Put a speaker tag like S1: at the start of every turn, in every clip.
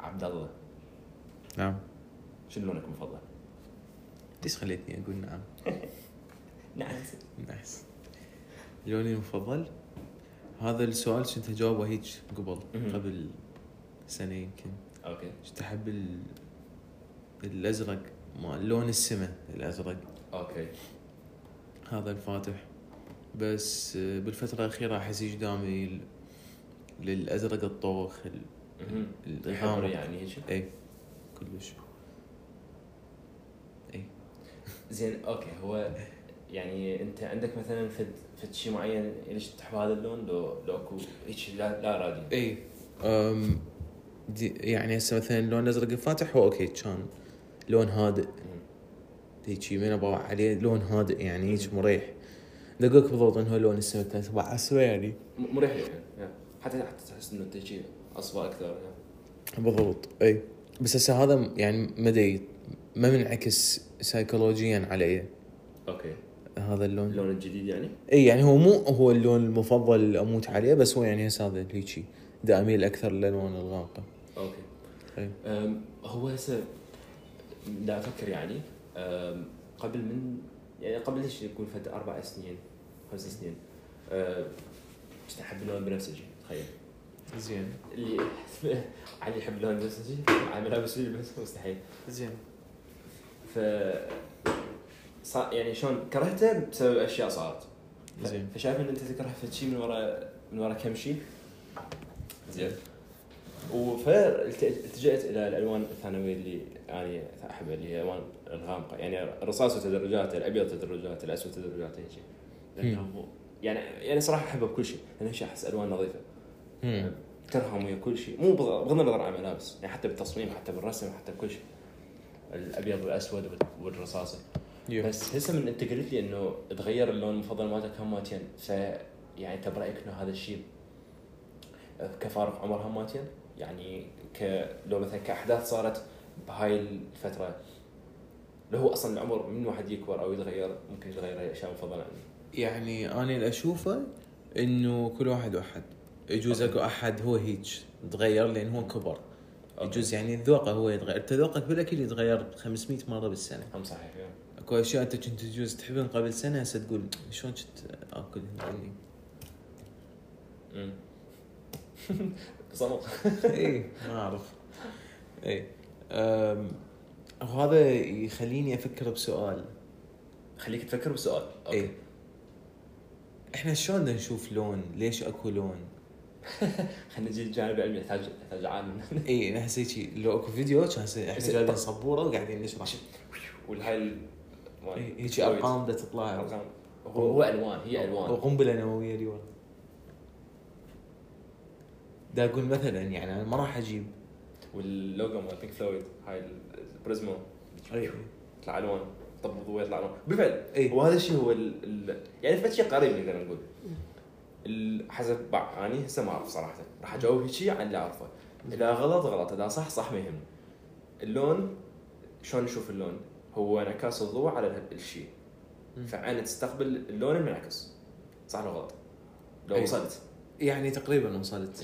S1: عبد الله
S2: نعم
S1: شنو لونك المفضل؟
S2: ليش خليتني اقول نعم
S1: نعس
S2: نايس لوني المفضل هذا السؤال كنت اجاوبه هيك قبل
S1: مهم.
S2: قبل سنه يمكن
S1: اوكي
S2: كنت احب ال... الازرق ما لون السما الازرق
S1: اوكي
S2: هذا الفاتح بس آه، بالفتره الاخيره احس ايش دامي ال- للازرق الطوخ ال-
S1: مهم. حمر
S2: الغامق
S1: يعني هيك
S2: اي كلش
S1: زين اوكي هو يعني انت عندك مثلا فد فد شيء معين ليش تحب هذا اللون لو لو اكو هيك لا لا رادي
S2: اي إيه، أم دي يعني هسه مثلا اللون الازرق الفاتح هو اوكي كان لون هادئ
S1: مم.
S2: هيجي من ابغى عليه لون هادئ يعني هيك مريح دقوك بالضبط انه هو لون السمك كان تبع اسوى يعني
S1: م- مريح يعني يا. حتى حتى تحس انه انت شيء اصفى اكثر يا.
S2: بالضبط اي بس هسه هذا م- يعني مدي ما منعكس سيكولوجيا علي
S1: اوكي
S2: هذا اللون
S1: اللون الجديد يعني
S2: اي يعني هو مو هو اللون المفضل اللي اموت عليه بس هو يعني هسه هذا هيجي دا اميل اكثر للالوان الغامقه
S1: اوكي
S2: أي.
S1: أم، هو هسه دا افكر يعني أم، قبل من يعني قبل ايش يكون فد اربع سنين خمس سنين أم، كنت احب اللون البنفسجي تخيل
S2: زين
S1: اللي علي يحب اللون البنفسجي على ملابسه يلبس مستحيل
S2: زين
S1: ف صار يعني شلون كرهته بسبب اشياء صارت ف-
S2: زين.
S1: فشايف ان انت تكره فد شيء من ورا من ورا كم شيء زين فالتجأت الى الالوان الثانويه اللي يعني احبها اللي هي الوان الغامقه يعني الرصاص وتدرجاته الابيض تدرجاته الاسود تدرجاته هيك شيء. لأنه يعني يعني صراحه احبها بكل شيء لان هيك احس الوان نظيفه
S2: مم.
S1: ترهم ويا كل شيء مو بغ- بغض النظر عن الملابس يعني حتى بالتصميم حتى بالرسم حتى بكل شيء الابيض والاسود وال- والرصاصه
S2: يو.
S1: بس هسه من انت قلت لي انه تغير اللون المفضل مالتك هماتين ف يعني انت برايك انه هذا الشيء كفارق عمر هماتين يعني ك لو مثلا كاحداث صارت بهاي الفتره لو هو اصلا العمر من واحد يكبر او يتغير ممكن يتغير هاي الاشياء المفضله عنه
S2: يعني انا اللي اشوفه انه كل واحد واحد يجوز اكو احد هو هيج تغير لان هو كبر يجوز يعني ذوقه هو يتغير انت ذوقك بالاكل يتغير 500 مره بالسنه
S1: هم صحيح يا.
S2: اكو اشياء انت كنت تجوز تحبها قبل سنه هسه تقول شلون كنت اكل هني
S1: أمم. صمت
S2: اي إيه، ما اعرف اي أم، وهذا يخليني افكر بسؤال
S1: خليك تفكر بسؤال
S2: اي احنا شلون بدنا نشوف لون ليش اكو لون
S1: خلينا نجي الجانب العلمي نحتاج نحتاج عالم
S2: اي انا حسيت شي- إيه، لو اكو فيديو كان هسه احنا
S1: بس-
S2: قاعدين صبوره وقاعدين نشرح
S1: والهاي ال-
S2: إي، إيه، هيجي ارقام بدها تطلع
S1: طيب. إيه، أرقام. هو هو الوان هي الوان
S2: وقنبله نوويه اللي ورا دا اقول مثلا يعني انا ما راح اجيب
S1: واللوجو مال بينك فلويد هاي البريزمو
S2: اي
S1: أيوه. يطلع الوان طب الضوء يطلع الوان بالفعل
S2: اي
S1: وهذا الشيء هو ال... ال... يعني فد شيء قريب نقدر نقول ال- حسب بع- اني هسه ما اعرف صراحه راح اجاوب هيجي عن اللي اعرفه اذا غلط غلط اذا صح صح ما يهمني اللون شلون نشوف اللون هو انعكاس الضوء على ال- الشيء فعين تستقبل اللون المنعكس صح ولا غلط؟ لو
S2: أي.
S1: وصلت
S2: يعني تقريبا وصلت
S1: 90%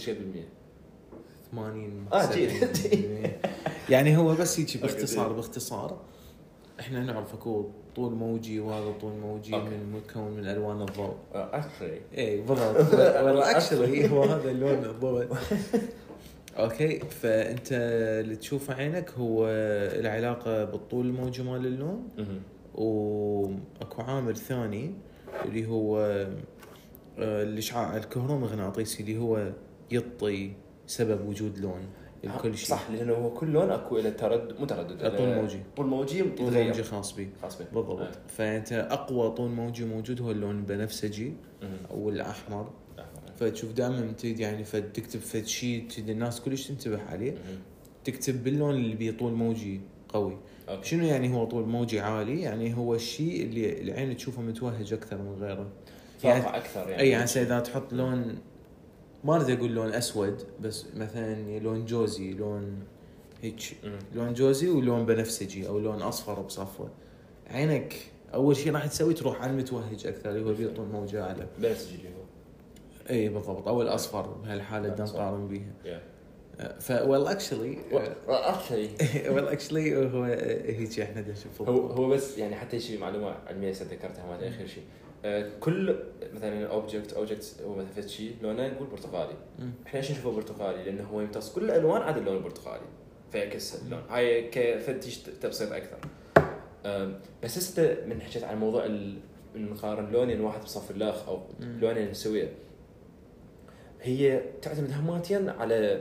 S2: 80
S1: آه، جيد.
S2: 70. يعني هو بس هيجي
S1: أوكي،
S2: باختصار
S1: جيد.
S2: باختصار احنا نعرف اكو طول موجي وهذا طول موجي
S1: أوكي.
S2: من متكون من الوان الضوء
S1: اكشلي
S2: اي إيه، بالضبط والله اكشلي هو هذا اللون الضوء اوكي فانت اللي تشوفه عينك هو العلاقه بالطول الموجي مال اللون واكو عامل ثاني اللي هو آه، الاشعاع الكهرومغناطيسي اللي هو يعطي سبب وجود لون لكل شيء
S1: صح لانه هو كل لون اكو له تردد مو تردد
S2: طول
S1: إله
S2: موجي.
S1: طول موجي
S2: طول
S1: يتغير.
S2: موجي خاص به
S1: خاص به
S2: بالضبط فانت اقوى طول موجي موجود هو اللون البنفسجي
S1: مهم.
S2: او الاحمر فتشوف دائما تريد يعني فد- تكتب فد شيء تريد الناس كلش تنتبه عليه
S1: مهم.
S2: تكتب باللون اللي بيه طول موجي قوي
S1: أوكي.
S2: شنو يعني هو طول موجي عالي يعني هو الشيء اللي العين تشوفه متوهج اكثر من غيره
S1: فاقع اكثر يعني
S2: اي يعني هسه اذا تحط لون ما اريد اقول لون اسود بس مثلا لون جوزي لون هيك
S1: مهم.
S2: لون جوزي ولون بنفسجي او لون اصفر بصفوه عينك اول شيء راح تسوي تروح على المتوهج اكثر اللي هو بيه طول موجي عالي
S1: بنفسجي اللي هو
S2: اي بالضبط او الاصفر بهالحاله بدنا
S1: الأصفر.
S2: نقارن بيها
S1: يا.
S2: ف well actually uh,
S1: اكشلي
S2: well actually هو uh, هيك احنا نشوف
S1: هو هو بس يعني حتى شيء معلومه علميه هسه ذكرتها مالت اخر شيء آه، كل مثلا اوبجكت اوبجكت هو مثلا فد شيء لونه نقول برتقالي
S2: مم.
S1: احنا ليش نشوفه برتقالي؟ لانه هو يمتص كل الالوان عدا اللون البرتقالي فيعكس اللون هاي كفتش تبسيط اكثر آم، بس هسه من حكيت عن موضوع ال- إن نقارن لونين واحد بصف الاخ او
S2: مم.
S1: لونين سويه يعني هي تعتمد هماتيا على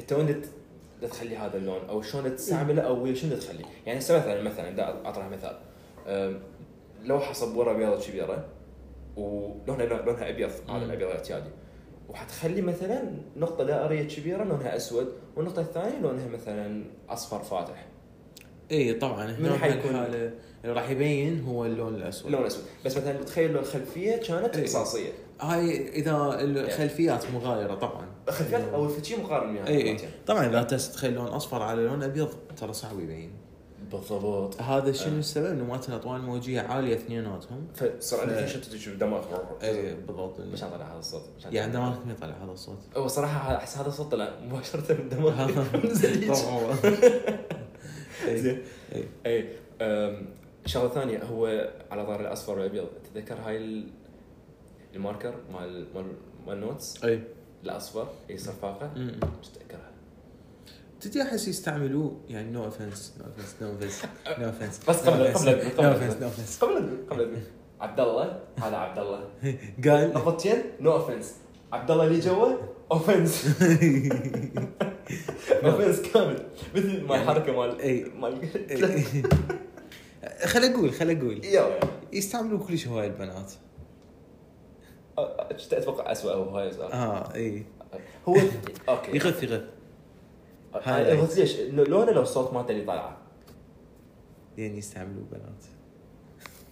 S1: انت وين دت- تخلي هذا اللون او شلون تستعمله او ويا شنو تخليه يعني هسه مثلا مثلا دا اطرح مثال أم، لوحه صبوره بيضه كبيره ولونها لونها ابيض هذا
S2: مم.
S1: الابيض الاعتيادي وحتخلي مثلا نقطه دائريه كبيره لونها اسود والنقطه الثانيه لونها مثلا اصفر فاتح
S2: اي طبعا
S1: من
S2: هنا
S1: حيكون؟
S2: بهالحالة اللي آه، راح يبين هو اللون الاسود
S1: لون اسود بس مثلا تخيل لون الخلفيه كانت
S2: إيه.
S1: رصاصيه
S2: هاي اذا الخلفيات مغايره طبعا
S1: الخلفيات
S2: إيه.
S1: او الفتشي مقارن وياها
S2: اي اي طبعا اذا تتخيل لون اصفر على لون ابيض ترى صعب يبين
S1: بالضبط
S2: هذا شنو
S1: آه.
S2: السبب؟ انه مالت الاطوال الموجيه عاليه اثنيناتهم
S1: فصار
S2: إيه.
S1: عندك شو تشوف دماغ
S2: اي بالضبط
S1: مش طلع هذا الصوت مش هنطلع.
S2: إيه. يعني دماغك ما يطلع هذا الصوت
S1: هو صراحة احس هذا الصوت طلع مباشرة من دماغي
S2: طبعاً والله. إيه، إي.
S1: زين
S2: إي.
S1: اي إيه، أم، شغلة ثانية هو على ظهر الاصفر والابيض تتذكر هاي ال- الماركر مال مال مال النوتس
S2: اي
S1: الاصفر اي صفاقة
S2: م-م.
S1: مش تتذكرها
S2: تدري احس يستعملوه يعني نو اوفنس نو اوفنس نو اوفنس نو اوفنس
S1: بس قبل- قبل- قبل-
S2: نو اوفنس نو اوفنس
S1: قبل قبل عبد الله هذا عبد الله
S2: قال
S1: نقطتين نو اوفنس عبد الله اللي جوا اوفنس اوفنس كامل مثل ما
S2: يعني-
S1: الحركة مال
S2: إي.
S1: مال
S2: خل اقول خل اقول
S1: يلا
S2: يستعملوا كلش هواي البنات
S1: أه، اتوقع اسوء هو هاي السؤال.
S2: اه اي
S1: آه. هو اوكي
S2: يغث يغث
S1: هاي بس آه، ليش؟ إنه لونه لو الصوت مالته اللي طالعه
S2: لان يعني يستعملوا بنات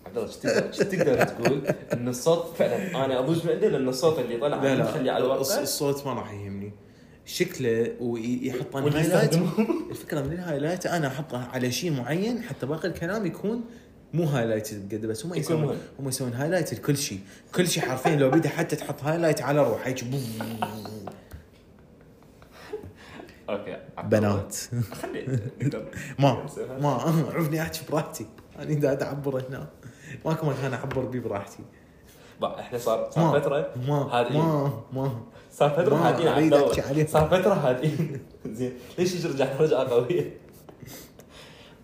S1: عبد الله شو تقدر- شو تقدر تقول ان الصوت فعلا انا اضوج من عنده لان الصوت اللي طلع
S2: لا
S1: خلي على
S2: لا الص-
S1: الوقت
S2: الصوت ما راح يهمني شكله ويحطه
S1: واللي
S2: هايلايت
S1: يستخدمه.
S2: الفكره من الهايلايت انا احطه على شيء معين حتى باقي الكلام يكون مو هايلايت بقد بس هم
S1: يكون مو.
S2: يسوون هم يسوون هايلايت لكل شيء كل شيء حرفيا لو بيده حتى تحط هايلايت على روح هيك بوم.
S1: اوكي عبد الله.
S2: بنات
S1: خلي نقدر-
S2: ما ما عرفني احكي براحتي انا قاعد اعبر هنا ماكو مكان اعبر بيه براحتي
S1: بقى احنا صار
S2: ما
S1: صار فتره
S2: ما
S1: هادئين.
S2: ما ما
S1: صار فتره
S2: ما
S1: هادين عبد
S2: أريد أحكي
S1: الله
S2: عليه.
S1: صار فتره هادين زين ليش يجي رجعنا رجعه قويه؟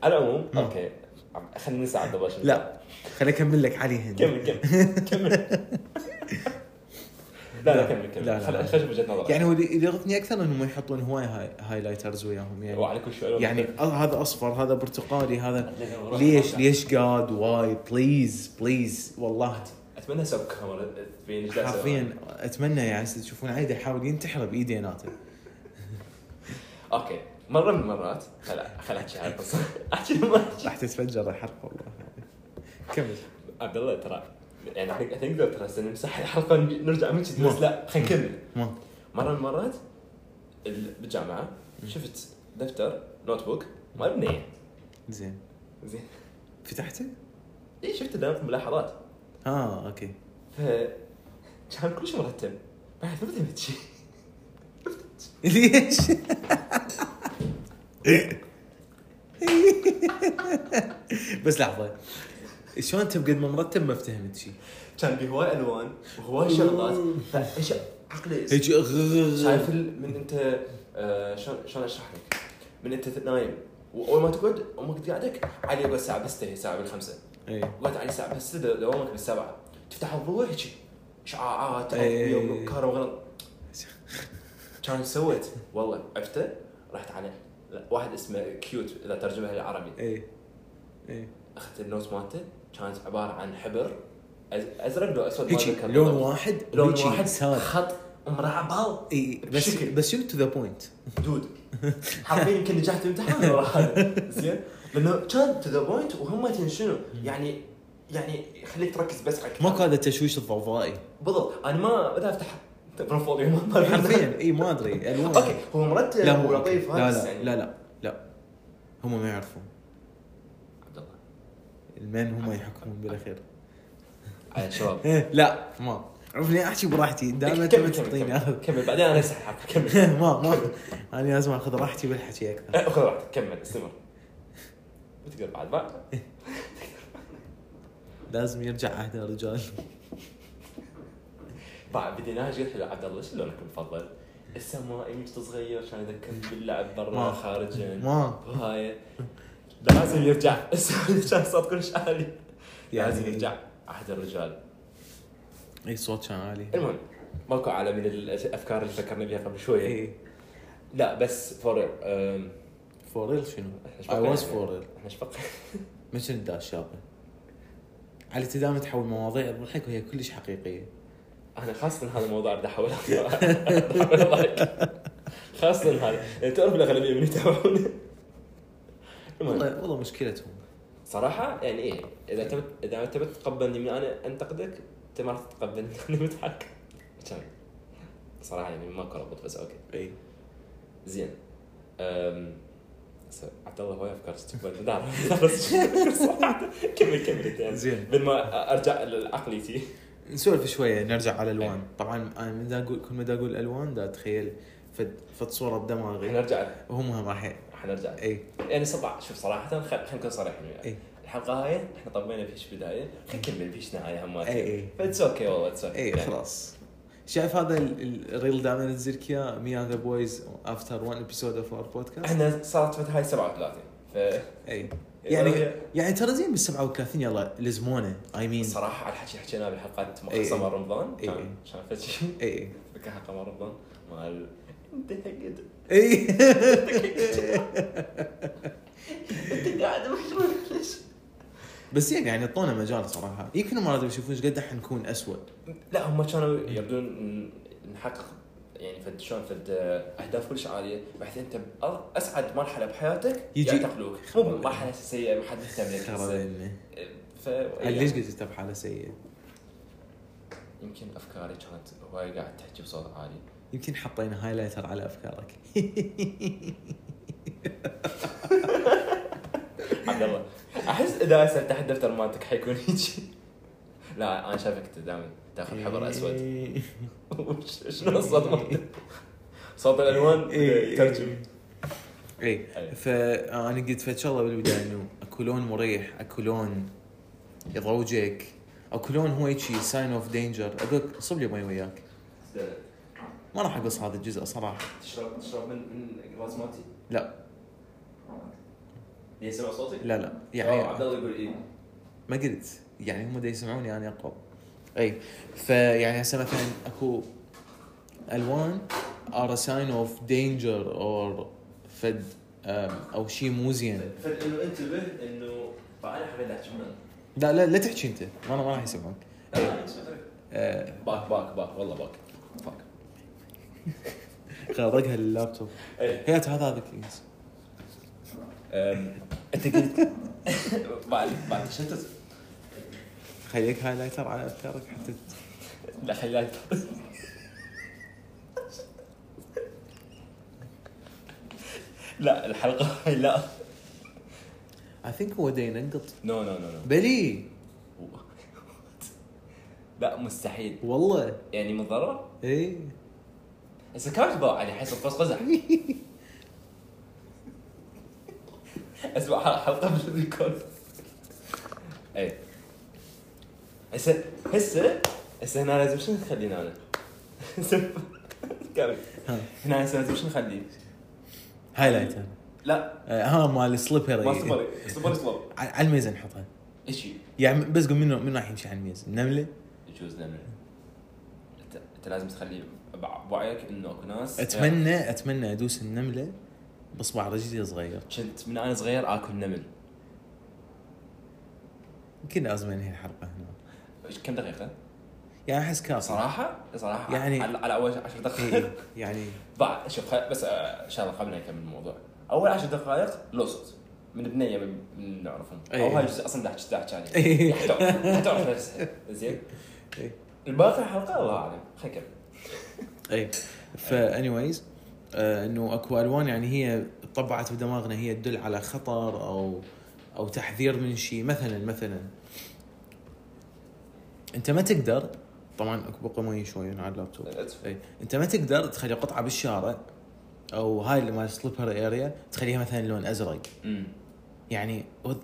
S1: على العموم
S2: مم.
S1: اوكي عم- خلينا ننسى عبد الله شنو.
S2: لا خليني اكمل لك علي هنا
S1: كمل كمل كمل لا لا كمل
S2: لا،
S1: كمل
S2: لا.
S1: خل- خل اشوف وجهه نظرك
S2: يعني هو اللي اللي يغثني اكثر انهم يحطون هواي هاي هايلايترز وياهم يعني
S1: وعلى كل شيء
S2: يعني أه، هذا اصفر هذا برتقالي هذا ليش ليش قاد واي بليز بليز والله
S1: اتمنى اسوي كاميرا تبين ايش قاعد أسوي.
S2: حرفيا اتمنى يعني هسه تشوفون عايده يحاول ينتحر بايديناته
S1: اوكي مره من المرات خل خل احكي هاي القصه احكي لما أحكي.
S2: راح تتفجر الحلقه والله كمل
S1: عبد الله ترى يعني إحنا- إحنا نقدر ترى هسه نمسح الحلقه نبي- نرجع من جديد، بس لا خلينا نكمل
S2: ما
S1: مره من المرات ال- بالجامعه شفت دفتر نوت بوك مال بنيه
S2: زين
S1: زين
S2: فتحته؟
S1: اي شفت دائما ملاحظات
S2: اه اوكي
S1: ف كان كلش مرتب بعد ما فهمت شيء
S2: ليش؟ بس لحظه شلون انت بقد ما مرتب ما فهمت شيء؟
S1: كان بي هواي الوان وهواي شغلات فايش عقلي
S2: هيك
S1: شايف ال- من انت آه، شلون شلون اشرح لك؟ من انت نايم واول ما تقعد امك تقعدك علي يقعد الساعه بس تهي الساعه بالخمسه
S2: ايه
S1: قعد علي الساعه بس تهي دوامك بالسبعه تفتح الضوء هيك اشعاعات
S2: إيه.
S1: تغطيه وكهرباء وغلط كان سويت والله عرفته رحت على لا، واحد اسمه كيوت اذا ترجمها للعربي
S2: ايه ايه
S1: اخذت النوت مالته كانت عباره عن حبر أز- ازرق لو اسود ما
S2: هيجي
S1: أتذكر
S2: لون
S1: بالضبط.
S2: واحد
S1: لون
S2: هيجي
S1: واحد
S2: ساد.
S1: خط مربع
S2: اي بس
S1: بشكل.
S2: بس تو ذا بوينت
S1: دود حرفيا يمكن نجحت امتحان ورا هذا زين لانه كان تو ذا بوينت وهم شنو يعني يعني يخليك تركز بس على الكتاب.
S2: ماكو هذا التشويش الضوضائي
S1: بالضبط انا ما بدي افتح بروفوليو ما
S2: حرفيا اي إيه، ما ادري الوان
S1: اوكي هو مرتب
S2: لا مو
S1: ولطيف هذا
S2: لا
S1: بس
S2: لا
S1: يعني.
S2: لا لا لا هم ما يعرفون
S1: عبد الله
S2: المن هم يحكمون بالاخير
S1: عاد شباب
S2: إيه، لا ما عرفني احكي براحتي دائما انت
S1: كمل،
S2: ما
S1: كمل،
S2: تعطيني
S1: كمل.
S2: أخذ.
S1: كمل بعدين انا اسحبك كمل
S2: ما ما انا لازم اخذ راحتي بالحكي اكثر
S1: أه، خذ راحتك كمل استمر بتقدر بعد بعد
S2: لازم يرجع عهد الرجال
S1: بعد بديناها جيت حلو عبد الله شو لونك المفضل؟ السمائي مش صغير كان يذكرني باللعب برا
S2: ما-
S1: خارجا
S2: ما.
S1: وهاي لازم يرجع كان صوت كلش عالي
S2: يعني-
S1: لازم يرجع عهد الرجال
S2: اي إيه، صوت كان عالي
S1: المهم ماكو على من الافكار اللي فكرنا بها قبل شويه
S2: اي
S1: لا بس فور احنا
S2: فور ريل شنو؟
S1: ايش
S2: اي واز فور ريل
S1: ايش بقى
S2: ما كنت داش شابه على تدام تحول مواضيع تضحك وهي كلش حقيقيه
S1: انا خاصه هذا الموضوع اريد احاول أحاول أضحك. خاصه هذا تعرف الاغلبيه من يتابعون المهم
S2: والله والله مشكلتهم
S1: صراحه يعني ايه اذا انت بت- اذا انت بتتقبلني من انا انتقدك انت ما راح تتقبلني انا بضحك كان صراحه يعني ماكو ربط بس اوكي
S2: اي
S1: زين أم... هسه عبد الله هواي افكار استقبال دار- دار- صراحة. كمل كمل انت يعني.
S2: زين.
S1: من ما ارجع لعقليتي
S2: نسولف شويه نرجع على الالوان طبعا انا من دا اقول كل ما دا اقول الوان دا اتخيل فد فد صوره بدماغي
S1: حنرجع
S2: وهم هم راح ي-
S1: حنرجع
S2: اي
S1: يعني صبع شوف صراحه خل- خلينا نكون صريحين وياك.
S2: إيه.
S1: الحلقه هاي احنا طبينا فيش بدايه خلينا نكمل فيش نهايه هم
S2: إيه، إيه.
S1: فاتس اوكي والله اتس اوكي
S2: اي خلاص شايف هذا ال- ال- الريل دائما انزل لك اياه مي اند ذا بويز افتر وان ابيسود اوف اور بودكاست
S1: احنا صارت فتره هاي 37 ف
S2: اي يعني يعني ترى زين بال 37 يلا لزمونه اي مين
S1: صراحه على الحكي حكيناه بالحلقات
S2: إيه،
S1: مخصصه
S2: إيه.
S1: مال رمضان
S2: إيه،
S1: كان كان فتشي
S2: اي
S1: فكان حلقه مال رمضان مال انت
S2: اي
S1: انت قاعد محروق ليش؟
S2: بس زين يعني اعطونا مجال صراحه يمكن ما لازم يشوفون ايش قد احنا نكون اسوء
S1: لا هم كانوا يبدون ن- نحقق يعني فد شلون فد اهداف كلش عاليه بحيث انت بأر- اسعد مرحله بحياتك
S2: يجي-
S1: يعتقلوك مو
S2: خرابي.
S1: مرحله سيئه ما حد يهتم لك هسه.
S2: خرابين
S1: ف يعني
S2: ليش قلت انت بحاله سيئه؟
S1: يمكن افكاري كانت هواي قاعد تحكي بصوت عالي
S2: يمكن حطينا هايلايتر على افكارك
S1: عبد الله احس اذا سألت احد دفتر مالتك حيكون هيجي لا انا شايفك دائما تاخذ حبر اسود شنو الصوت مالتك؟ صوت الالوان
S2: إيه،
S1: ترجم
S2: اي
S1: أي.
S2: فانا آه، قلت فد شغله بالبدايه انه اكو لون مريح اكو لون يضوجك اكو لون هو هيجي ساين اوف دينجر اقول لك صب لي مي وياك إيه. ما راح اقص هذا الجزء صراحه
S1: تشرب تشرب من من غاز ماتي
S2: لا
S1: يسمع صوتي؟
S2: لا لا
S1: يعني عبد
S2: يعني
S1: الله يقول ايه
S2: ما قلت يعني هم دا يسمعوني انا اقرب اي فيعني يعني هسه مثلا اكو الوان ار ساين اوف دينجر اور فد أم، او شيء مو
S1: إيه.
S2: زين
S1: فانه انتبه انه فانا حبيت احكي من
S2: لا لا لا تحكي انت ما ما راح يسمعون آه،
S1: إيه. باك باك باك والله باك باك
S2: خرجها اللابتوب
S1: ايه
S2: هيت هذا هذا كيس
S1: أم، انت قلت بعد بعد شتت
S2: خليك هايلايتر على افكارك حتى ت-
S1: لا خليك لا الحلقه هاي لا
S2: I think هو دا ينقط
S1: نو نو نو
S2: بلي
S1: نو لا مستحيل
S2: والله
S1: يعني مضرة
S2: اي
S1: هسه كم تباع علي حيصير قوس قزح اسمع ح- حلقه بالريكورد اي هسه هسه هسه هنا لازم شنو نخلينا انا؟ هسه- كمل
S2: ها.
S1: هنا هسه لازم شنو نخليه؟
S2: هايلايتر
S1: لا
S2: آه، ها مال سليبر
S1: ما صبري صبري صبر
S2: على الميزه نحطها
S1: ايش هي؟
S2: يعني بس قول منو منو راح يمشي على الميز النمله
S1: يجوز نمله انت انت لازم تخليه بع- بوعيك انه اكو ناس
S2: اتمنى اتمنى ادوس النمله بصبع رجلي صغير
S1: كنت من انا صغير اكل نمل
S2: يمكن لازم انهي الحلقه هنا
S1: إيش- كم دقيقه؟
S2: يعني احس كافي
S1: صراحه صراحه
S2: يعني-
S1: على, على اول 10
S2: إي،
S1: دقائق
S2: إي، يعني
S1: بعد شوف خل- بس آه، ان شاء الله قبل لا نكمل الموضوع اول 10 دقائق لو صوت من بنيه من, من نعرفهم او
S2: إيه.
S1: هاي الجزء اصلا دحش دحش عليه
S2: إيه.
S1: يعني. حتعرف حتعرف نفسها زين
S2: إيه.
S1: الباقي الحلقه الله اعلم خلينا نكمل
S2: اي فاني وايز انه اكو الوان يعني هي طبعت بدماغنا هي تدل على خطر او او تحذير من شيء مثلا مثلا انت ما تقدر طبعا اكو بقى مي شوي على اللابتوب
S1: That's fine.
S2: اي انت ما تقدر تخلي قطعه بالشارع او هاي اللي مال سليبر اريا تخليها مثلا لون ازرق
S1: أمم.
S2: يعني وذ-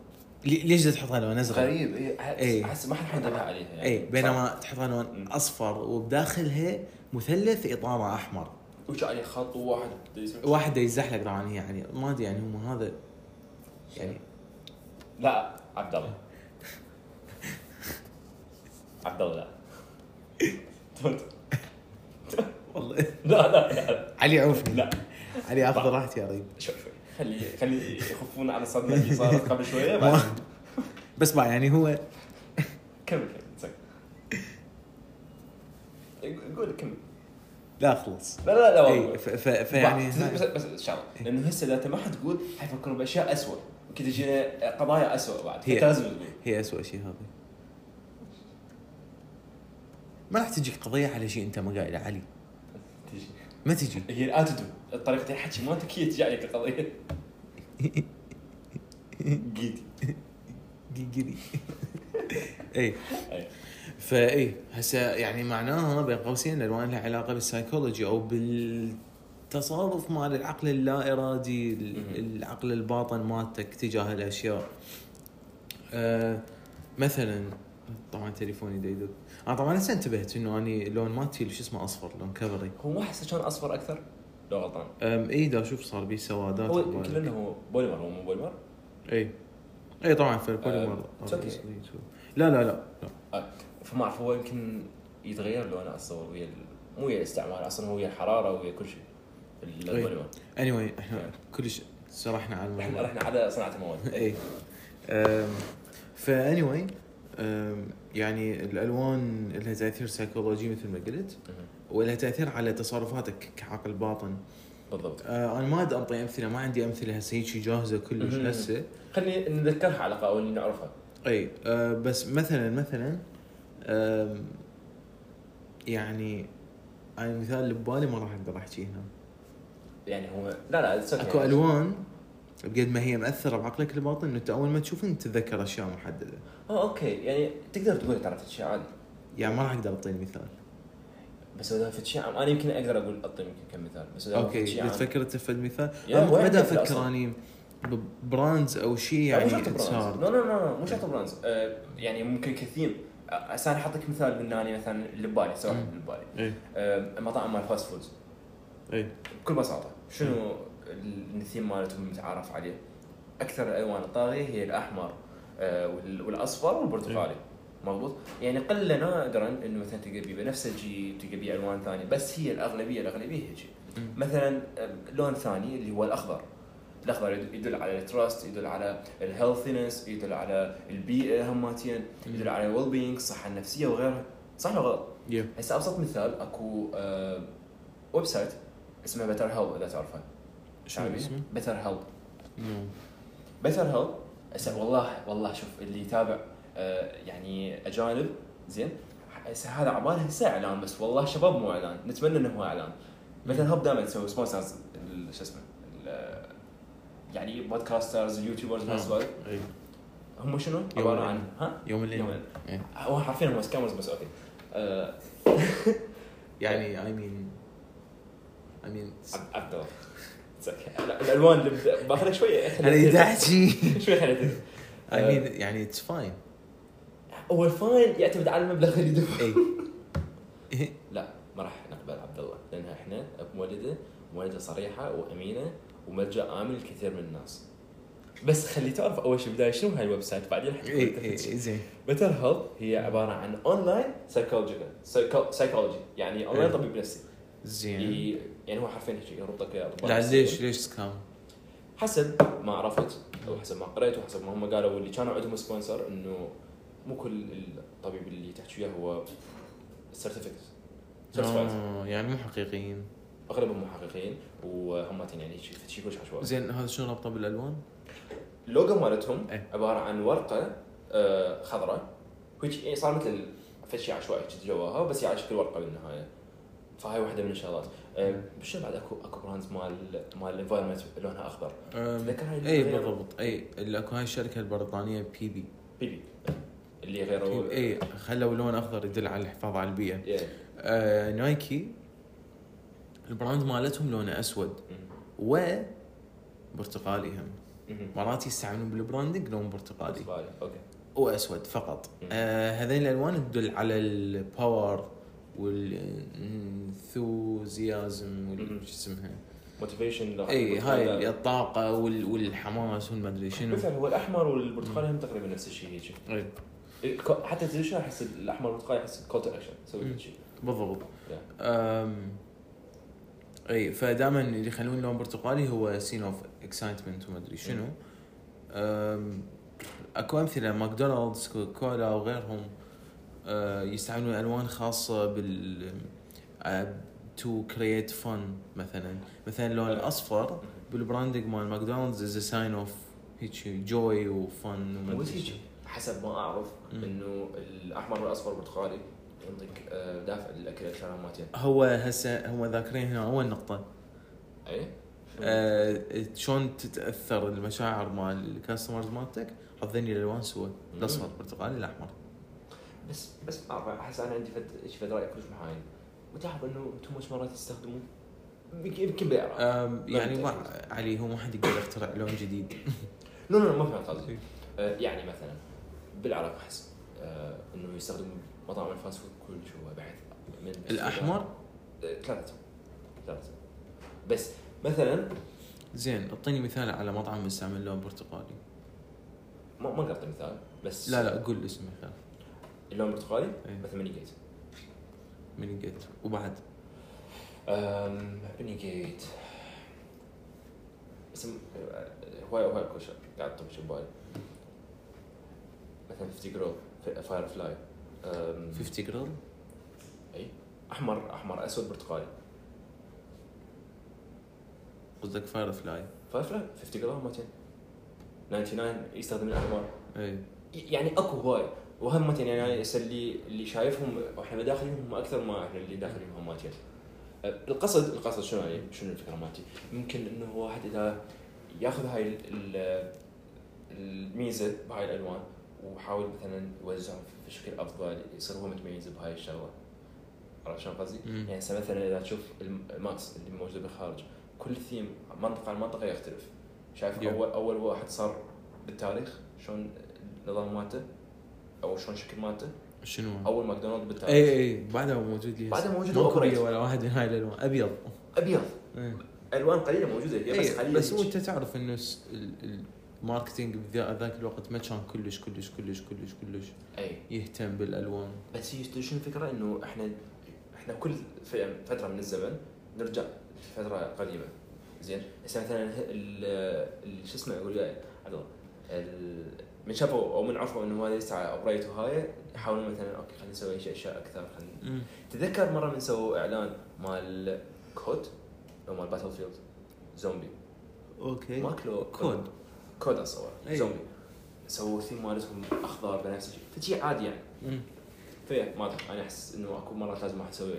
S2: لي- ليش بدها تحطها لون ازرق؟
S1: غريب اي
S2: إيه.
S1: احس ما حد حد عليها يعني
S2: اي إيه، بينما تحطها لون
S1: مم.
S2: اصفر وبداخلها مثلث اطاره احمر
S1: وش عليه خط وواحد يسوي-
S2: واحد يزحلق طبعا هي يعني ما ادري يعني هم هذا يعني
S1: لا عبد الله عبد الله
S2: والله
S1: لا لا لا
S2: علي عوفني
S1: لا
S2: علي اخذ راحتي يا ريب
S1: شوي شوي خلي خلي يخفون على الصدمه اللي صارت قبل شويه
S2: ما-
S1: بعدين
S2: بس بقى يعني هو
S1: كمل كمل تسكر. قول كمل
S2: لا خلص
S1: لا لا لا والله
S2: اي ف- ف- إيه، فيعني إيه.
S1: بس بس, بس إن شاء الله لانه هسه اذا انت ما حتقول حيفكروا باشياء اسوء وكذا يجينا قضايا اسوء بعد
S2: هي.
S1: فانت لازم تقول
S2: هي أسوأ شيء هذا ما راح تجيك قضية على شيء أنت ما قايله علي
S1: تجي
S2: ما تجي
S1: هي الاتيتود طريقه الحكي مالتك هي تجي عليك القضيه جيتي
S2: قيقري اي
S1: أي.
S2: فاي هسه يعني معناها بين قوسين الالوان لها علاقه بالسايكولوجي او بالتصادف مال العقل اللا ارادي ال-
S1: مهم.
S2: العقل الباطن مالتك تجاه الاشياء آه مثلا طبعا تليفوني دا يدق انا طبعا هسه انتبهت انه اني لون مالتي شو اسمه اصفر لون كفري
S1: هو ما احسه كان اصفر اكثر لو غلطان
S2: أم اي دا اشوف صار بيه سوادات
S1: هو
S2: أو- إيه.
S1: يمكن لانه هو بوليمر هو مو بوليمر
S2: اي اي طبعا فالبوليمر
S1: آه، تركي.
S2: لا لا لا لا
S1: آه، فما اعرف هو يمكن يتغير لونه اتصور ويا ال- مو ويا الاستعمال اصلا هو ويا الحراره ويا كل شيء
S2: إيه.
S1: البوليمر
S2: اني anyway, احنا كلش سرحنا على
S1: احنا
S2: الموضوع
S1: رحنا على صناعه المواد إيه.
S2: اي فا اني إيه. anyway, أم، يعني الالوان لها تاثير سيكولوجي مثل ما قلت
S1: مهم.
S2: ولها تاثير على تصرفاتك كعقل باطن
S1: بالضبط
S2: أه، انا ما ادري انطي امثله ما عندي امثله هسه هيك جاهزه كلش
S1: مهم.
S2: هسه
S1: خلينا نذكرها على الاقل اللي نعرفها
S2: اي أه، بس مثلا مثلا أم، يعني انا المثال اللي ببالي ما راح اقدر احكيه هنا
S1: يعني هو لا لا it's okay.
S2: اكو الوان بقد ما هي مأثرة بعقلك الباطن انه انت اول ما تشوفهم تتذكر اشياء محددة.
S1: اه اوكي يعني تقدر تقول تعرف شيء عادي
S2: يعني ما راح اقدر اعطي مثال.
S1: بس اذا فد شيء عام انا يمكن اقدر اقول اعطي يمكن كم مثال بس اذا
S2: اوكي
S1: فد شيء عام-
S2: بتفكر انت في مثال؟
S1: يعني. يا
S2: أنا
S1: وين
S2: ما دا
S1: تبدأ
S2: افكر
S1: أصلاً؟
S2: اني براندز او شيء
S1: لا، مو
S2: يعني
S1: شرط براندز.
S2: صار
S1: لا لا لا مو شرط براندز آه، يعني ممكن كثير آه، هسه انا احطك مثال من اني مثلا اللي ببالي سواء
S2: مم.
S1: اللي ببالي
S2: اي
S1: آه، مطاعم مال فاست فودز
S2: اي
S1: بكل بساطه شنو ال- الثيم مالتهم متعارف عليه؟ اكثر الالوان الطاغيه هي الاحمر آه، وال- والاصفر والبرتقالي مضبوط يعني قله نادرا انه مثلا تلقى بيه بنفسجي تلقى بيه الوان ثانيه بس هي الاغلبيه الاغلبيه هيجي
S2: مم.
S1: مثلا آه، لون ثاني اللي هو الاخضر الاخضر يد- يدل على التراست يدل على الهيلثينس يدل على البيئه هماتين
S2: إيه.
S1: يدل على الويل بينج الصحه النفسيه وغيرها صح ولا غلط؟
S2: يب
S1: هسه ابسط مثال اكو آه، ويب سايت اسمه بتر هيلب اذا تعرفه
S2: شنو اسمه؟
S1: بتر هيلب
S2: نو
S1: بتر هيلب هسه والله والله شوف اللي يتابع آه، يعني اجانب زين هسه هذا عباله هسه اعلان بس والله شباب مو اعلان نتمنى انه هو اعلان بتر هيلب دائما تسوي سبونسرز ال- شو اسمه ال- يعني بودكاسترز اليوتيوبرز هالسوالف
S2: إي.
S1: هم شنو؟
S2: يوم
S1: عباره
S2: العيد. إيه.
S1: عن ها؟
S2: إيه. يوم
S1: يوم
S2: الاثنين إي.
S1: هو حرفيا هم سكامرز بس اوكي آه،
S2: يعني اي مين اي مين
S1: عبد- عبد الله It's okay. لا، الالوان اللي بد- باخذها شويه
S2: انا
S1: خليها
S2: قاعد
S1: تهدأ.
S2: احكي
S1: شوي خليها تهدأ.
S2: اي مين يعني اتس فاين
S1: هو الفاين يعتمد على المبلغ اللي يدفع
S2: اي إي.
S1: لا ما راح نقبل عبد الله لان احنا بمولده مولده صريحه وامينه وملجا امن للكثير من الناس بس خلي تعرف اول شيء بدايه شنو هاي الويب سايت بعدين راح
S2: اي إي، إيه، زين
S1: بتر هيلث هي عباره عن اونلاين سايكولوجيكال سايكولوجي يعني اونلاين
S2: إيه.
S1: طبيب نفسي
S2: زين
S1: ي- يعني هو حرفيا هيك يربطك يا أطباء
S2: لا
S1: نفسيين.
S2: ليش ليش سكام؟
S1: حسب ما عرفت او حسب ما قريت وحسب ما هم قالوا اللي كانوا عندهم سبونسر انه مو كل الطبيب اللي تحكي وياه هو سيرتيفيكت سيرتيفايد
S2: آه، يعني مو حقيقيين
S1: اغلبهم محققين وهم يعني شيء شيء كلش عشوائي
S2: زين هذا شنو ربطه بالالوان؟
S1: اللوجو مالتهم
S2: إيه.
S1: عباره عن ورقه آه، خضراء which يعني صار مثل فد شيء عشوائي جد جواها بس هي على شكل ورقه بالنهايه فهاي واحده من الشغلات آه،
S2: إيه.
S1: بشو بعد اكو اكو براندز مال مال الانفايرمنت لونها اخضر
S2: أم،
S1: تذكر هاي
S2: اي
S1: اللي-
S2: إيه، بالضبط اي اللي اكو هاي الشركه البريطانيه بي بي
S1: بيبي اللي اللي غيروا
S2: اي خلوا إيه، لون اخضر يدل على الحفاظ على البيئه
S1: Yeah.
S2: آه نايكي البراند مالتهم لونه اسود
S1: Mm-hmm.
S2: و برتقالي هم
S1: مهم.
S2: مرات يستعملون بالبراندنج لون برتقالي
S1: بالي. اوكي
S2: واسود فقط
S1: مم.
S2: آه هذين الالوان تدل على الباور والانثوزيازم
S1: مم.
S2: وال- شو اسمها
S1: موتيفيشن
S2: اي إيه، هاي الطاقه وال- والحماس والمدري شنو إيه.
S1: مثلا هو الاحمر والبرتقالي هم تقريبا نفس الشيء هيك
S2: إي.
S1: الكو- حتى تدري شنو احس الاحمر والبرتقالي احس كول تو اكشن سوي
S2: مم.
S1: هيك شيء
S2: بالضبط
S1: Yeah.
S2: أم... اي فدائما اللي يخلون لون برتقالي هو سين اوف اكسايتمنت وما ادري شنو أم... اكو امثله ماكدونالدز كولا وغيرهم أه، يستعملون الوان خاصه بال أه، تو كرييت فن مثلا مثلا اللون
S1: أه.
S2: الاصفر
S1: مهم.
S2: بالبراندنج مال ماكدونالدز از ساين اوف هيك جوي وفن وما
S1: مو
S2: ادري شنو.
S1: هيك حسب ما اعرف
S2: مم.
S1: انه الاحمر والاصفر والبرتقالي يعطيك آه، دافع للاكل الشهر مالتين
S2: هو هسه هم ذاكرين هنا اول نقطه
S1: اي
S2: آه، شلون تتاثر المشاعر مال الكاستمرز مالتك حظين الالوان سوا الاصفر البرتقالي الاحمر
S1: بس بس ما اعرف احس انا عندي فد هيك فد راي كلش محايد وتعرف انه انتم مش مرات تستخدمون يمكن بيعرف
S2: آم، يعني ما علي هو ما حد يقدر يخترع لون جديد
S1: لا لا لا، ما فهمت قصدي آه، يعني مثلا بالعراق احس آه، انه يستخدم مطاعم الفاست فود كلش هو بعد من
S2: الاحمر
S1: آه، ثلاثة ثلاثة بس مثلا
S2: زين اعطيني مثال على مطعم يستعمل لون برتقالي
S1: ما ما قلت مثال بس
S2: لا لا قول اسم مثال
S1: اللون البرتقالي
S2: إيه.
S1: مثلا مني جيت
S2: من جيت وبعد
S1: أم، بني جيت اسم هواي هواي كل شيء قاعد تطب شيء ببالي مثلا 50 جرو فاير فلاي
S2: 50 جرام
S1: احمر احمر اسود برتقالي
S2: قصدك فاير فلاي
S1: فاير فلاي 50 جرو 99 يستخدم الاحمر
S2: اي
S1: يعني اكو هواي وهم متين يعني انا هسه اللي اللي شايفهم احنا داخلين هم اكثر ما احنا اللي داخلين هم ماتين أه، القصد القصد شنو يعني شنو الفكره مالتي؟ ممكن انه واحد اذا ياخذ هاي ال- ال- الميزه بهاي الالوان وحاول مثلا يوزعهم في شكل افضل يصير هو متميز بهاي الشغله عرفت شلون قصدي؟
S2: مم.
S1: يعني هسه مثلا اذا تشوف الم- الماكس اللي موجود بالخارج كل ثيم منطقه عن منطقه يختلف شايف
S2: Yeah.
S1: اول اول واحد صار بالتاريخ شلون النظام مالته او شلون شكل مالته
S2: شنو إيه، هو؟
S1: اول ماكدونالد بالتاريخ
S2: اي اي بعده هو موجود لي هسه.
S1: بعده موجود
S2: ماكو
S1: أوبريت.
S2: بيه ولا واحد من هاي إيه. الالوان ابيض
S1: ابيض
S2: إي.
S1: الوان قليله موجوده هي بس
S2: بس
S1: قليله
S2: إيه، بس هو
S1: هيك.
S2: انت تعرف انه الس- ال- الماركتينج بذا- ذاك الوقت ما كان كلش كلش كلش كلش كلش
S1: اي
S2: يهتم بالالوان
S1: بس هي شنو الفكره انه احنا احنا كل ف- فتره من الزمن نرجع لفتره قديمه زين هسه مثلا ه- ال- ال- شو اسمه اقول لك عبد الله ال- من شافوا او من عرفوا انه هذا يسعى اوبريت وهاي يحاولون مثلا اوكي خلينا نسوي شيء- اشياء اكثر خلينا تذكر مره من سووا اعلان مال كود او مال باتل فيلد زومبي
S2: اوكي
S1: ماكلو
S2: إيه. كود
S1: كود اصور
S2: أي.
S1: زومبي سووا الثيم مالتهم اخضر بنفسجي فشي عادي يعني
S2: مم.
S1: فيا ما ادري انا احس انه اكو مرات لازم أحد اسوي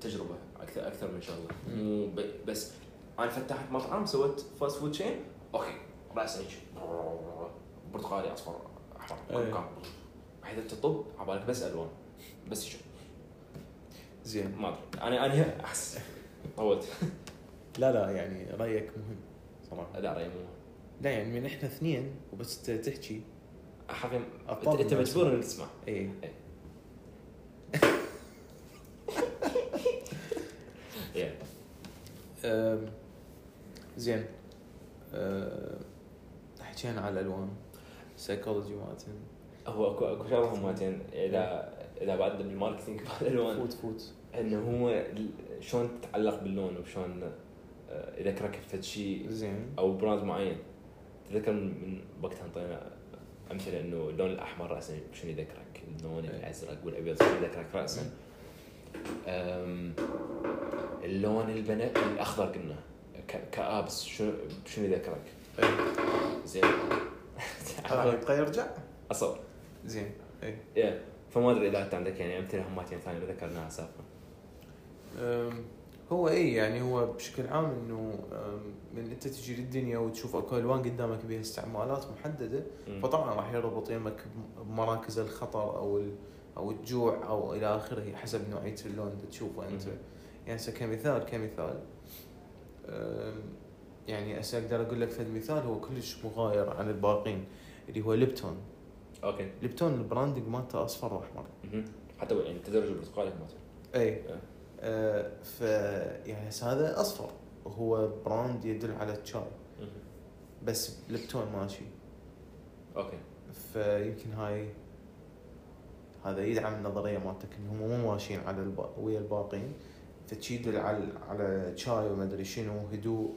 S1: تجربه اكثر اكثر من شغله
S2: مم.
S1: مو ب- بس انا فتحت مطعم سويت فاست فود تشين اوكي راس عيش برتقالي اصفر احمر
S2: أي.
S1: كل كان بحيث انت تطب عبالك بس الوان بس شو
S2: زين
S1: ما ادري انا انا احس طولت
S2: لا لا يعني رايك مهم صراحه
S1: لا رايي مو
S2: لا يعني من احنا اثنين وبس ت- تحكي
S1: حرفيا أنت-
S2: أبطال إيه.
S1: انت
S2: الناس.
S1: مجبور انك تسمع
S2: اي
S1: يا.
S2: أم، زين أم، حكينا على الالوان سايكولوجي مالتهم
S1: هو اكو اكو شغله مالتين اذا اذا بعدنا بالماركتينج بالالوان
S2: فوت فوت
S1: انه هو ال- شلون تتعلق باللون وشلون آه، يذكرك بفد شيء
S2: زين
S1: او براند معين تذكر من من وقتها انطينا امثله انه اللون الاحمر راسا شنو يذكرك اللون
S2: إيه.
S1: الازرق والابيض شنو يذكرك راسا أم، اللون البنات الاخضر قلنا ك- كابس شنو شنو يذكرك
S2: طيب.
S1: زين
S2: يرجع
S1: اصور
S2: زين اي
S1: يا فما ادري اذا انت عندك يعني امثله هماتين ثانيه ذكرناها سابقا
S2: أم، هو اي يعني هو بشكل عام انه أم، من انت تجي للدنيا وتشوف اكو الوان قدامك بها استعمالات محدده
S1: مم.
S2: فطبعا راح يربط يمك بم- بمراكز الخطر او ال- او الجوع او الى اخره حسب نوعيه اللون اللي تشوفه انت
S1: مم.
S2: يعني هسه كمثال كمثال أم، يعني هسه اقدر اقول لك فد مثال هو كلش مغاير عن الباقين اللي هو ليبتون
S1: اوكي
S2: ليبتون البراندنج مالته اصفر واحمر
S1: مهم. حتى يعني تدرج البرتقالي مالته
S2: اي
S1: آه.
S2: إيه. آه ف يعني هسه هذا اصفر وهو براند يدل على الشاي
S1: مهم.
S2: بس ليبتون ماشي
S1: اوكي
S2: فيمكن هاي هذا يدعم النظريه مالتك انهم مو ماشيين على الب... ويا الباقين فتشي يدل على على شاي وما ادري شنو هدوء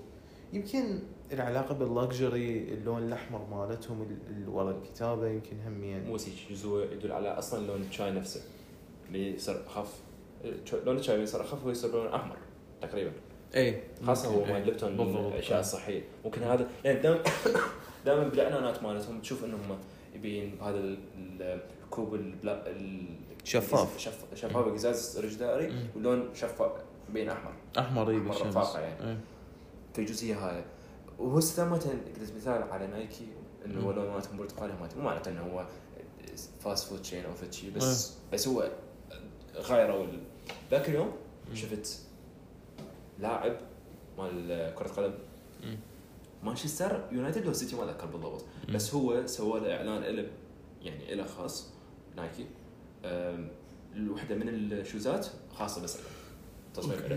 S2: يمكن العلاقه باللكجري اللون الاحمر مالتهم ال- ال- ورا الكتابه يمكن هم يعني
S1: مو هيك جزء يدل على اصلا لون الشاي نفسه اللي صار اخف لون الشاي اللي صار اخف هو يصير لون احمر تقريبا
S2: اي
S1: خاصه هو
S2: ممكن،
S1: مال
S2: إي.
S1: ليبتون من
S2: بالضبط.
S1: الاشياء الصحيه ممكن هذا لان دائما دائما بالاعلانات مالتهم تشوف انهم يبين هذا ال- ال- الكوب البلا ال-
S2: شفاف.
S1: شف- شفاف قزاز رجداري
S2: مم. طيب،
S1: ولون شفاف بين احمر
S2: احمر
S1: أحمر
S2: يبي الشمس إيه.
S1: رفاقة يعني.
S2: إي.
S1: في الجزئيه هاي وهو استمتع قلت مثال على نايكي انه
S2: مم.
S1: هو لون مالتهم برتقالي مالتهم مو معناته انه هو فاست فود تشين او فد شي بس بس هو غيروا ال- ذاك اليوم
S2: مم.
S1: شفت لاعب مال كره قدم
S2: مم.
S1: مانشستر يونايتد لو سيتي ما اذكر بالضبط
S2: مم.
S1: بس هو سوى له اعلان له يعني له خاص نايكي أم، الوحده من الشوزات خاصه بس له تصميم
S2: أوكي.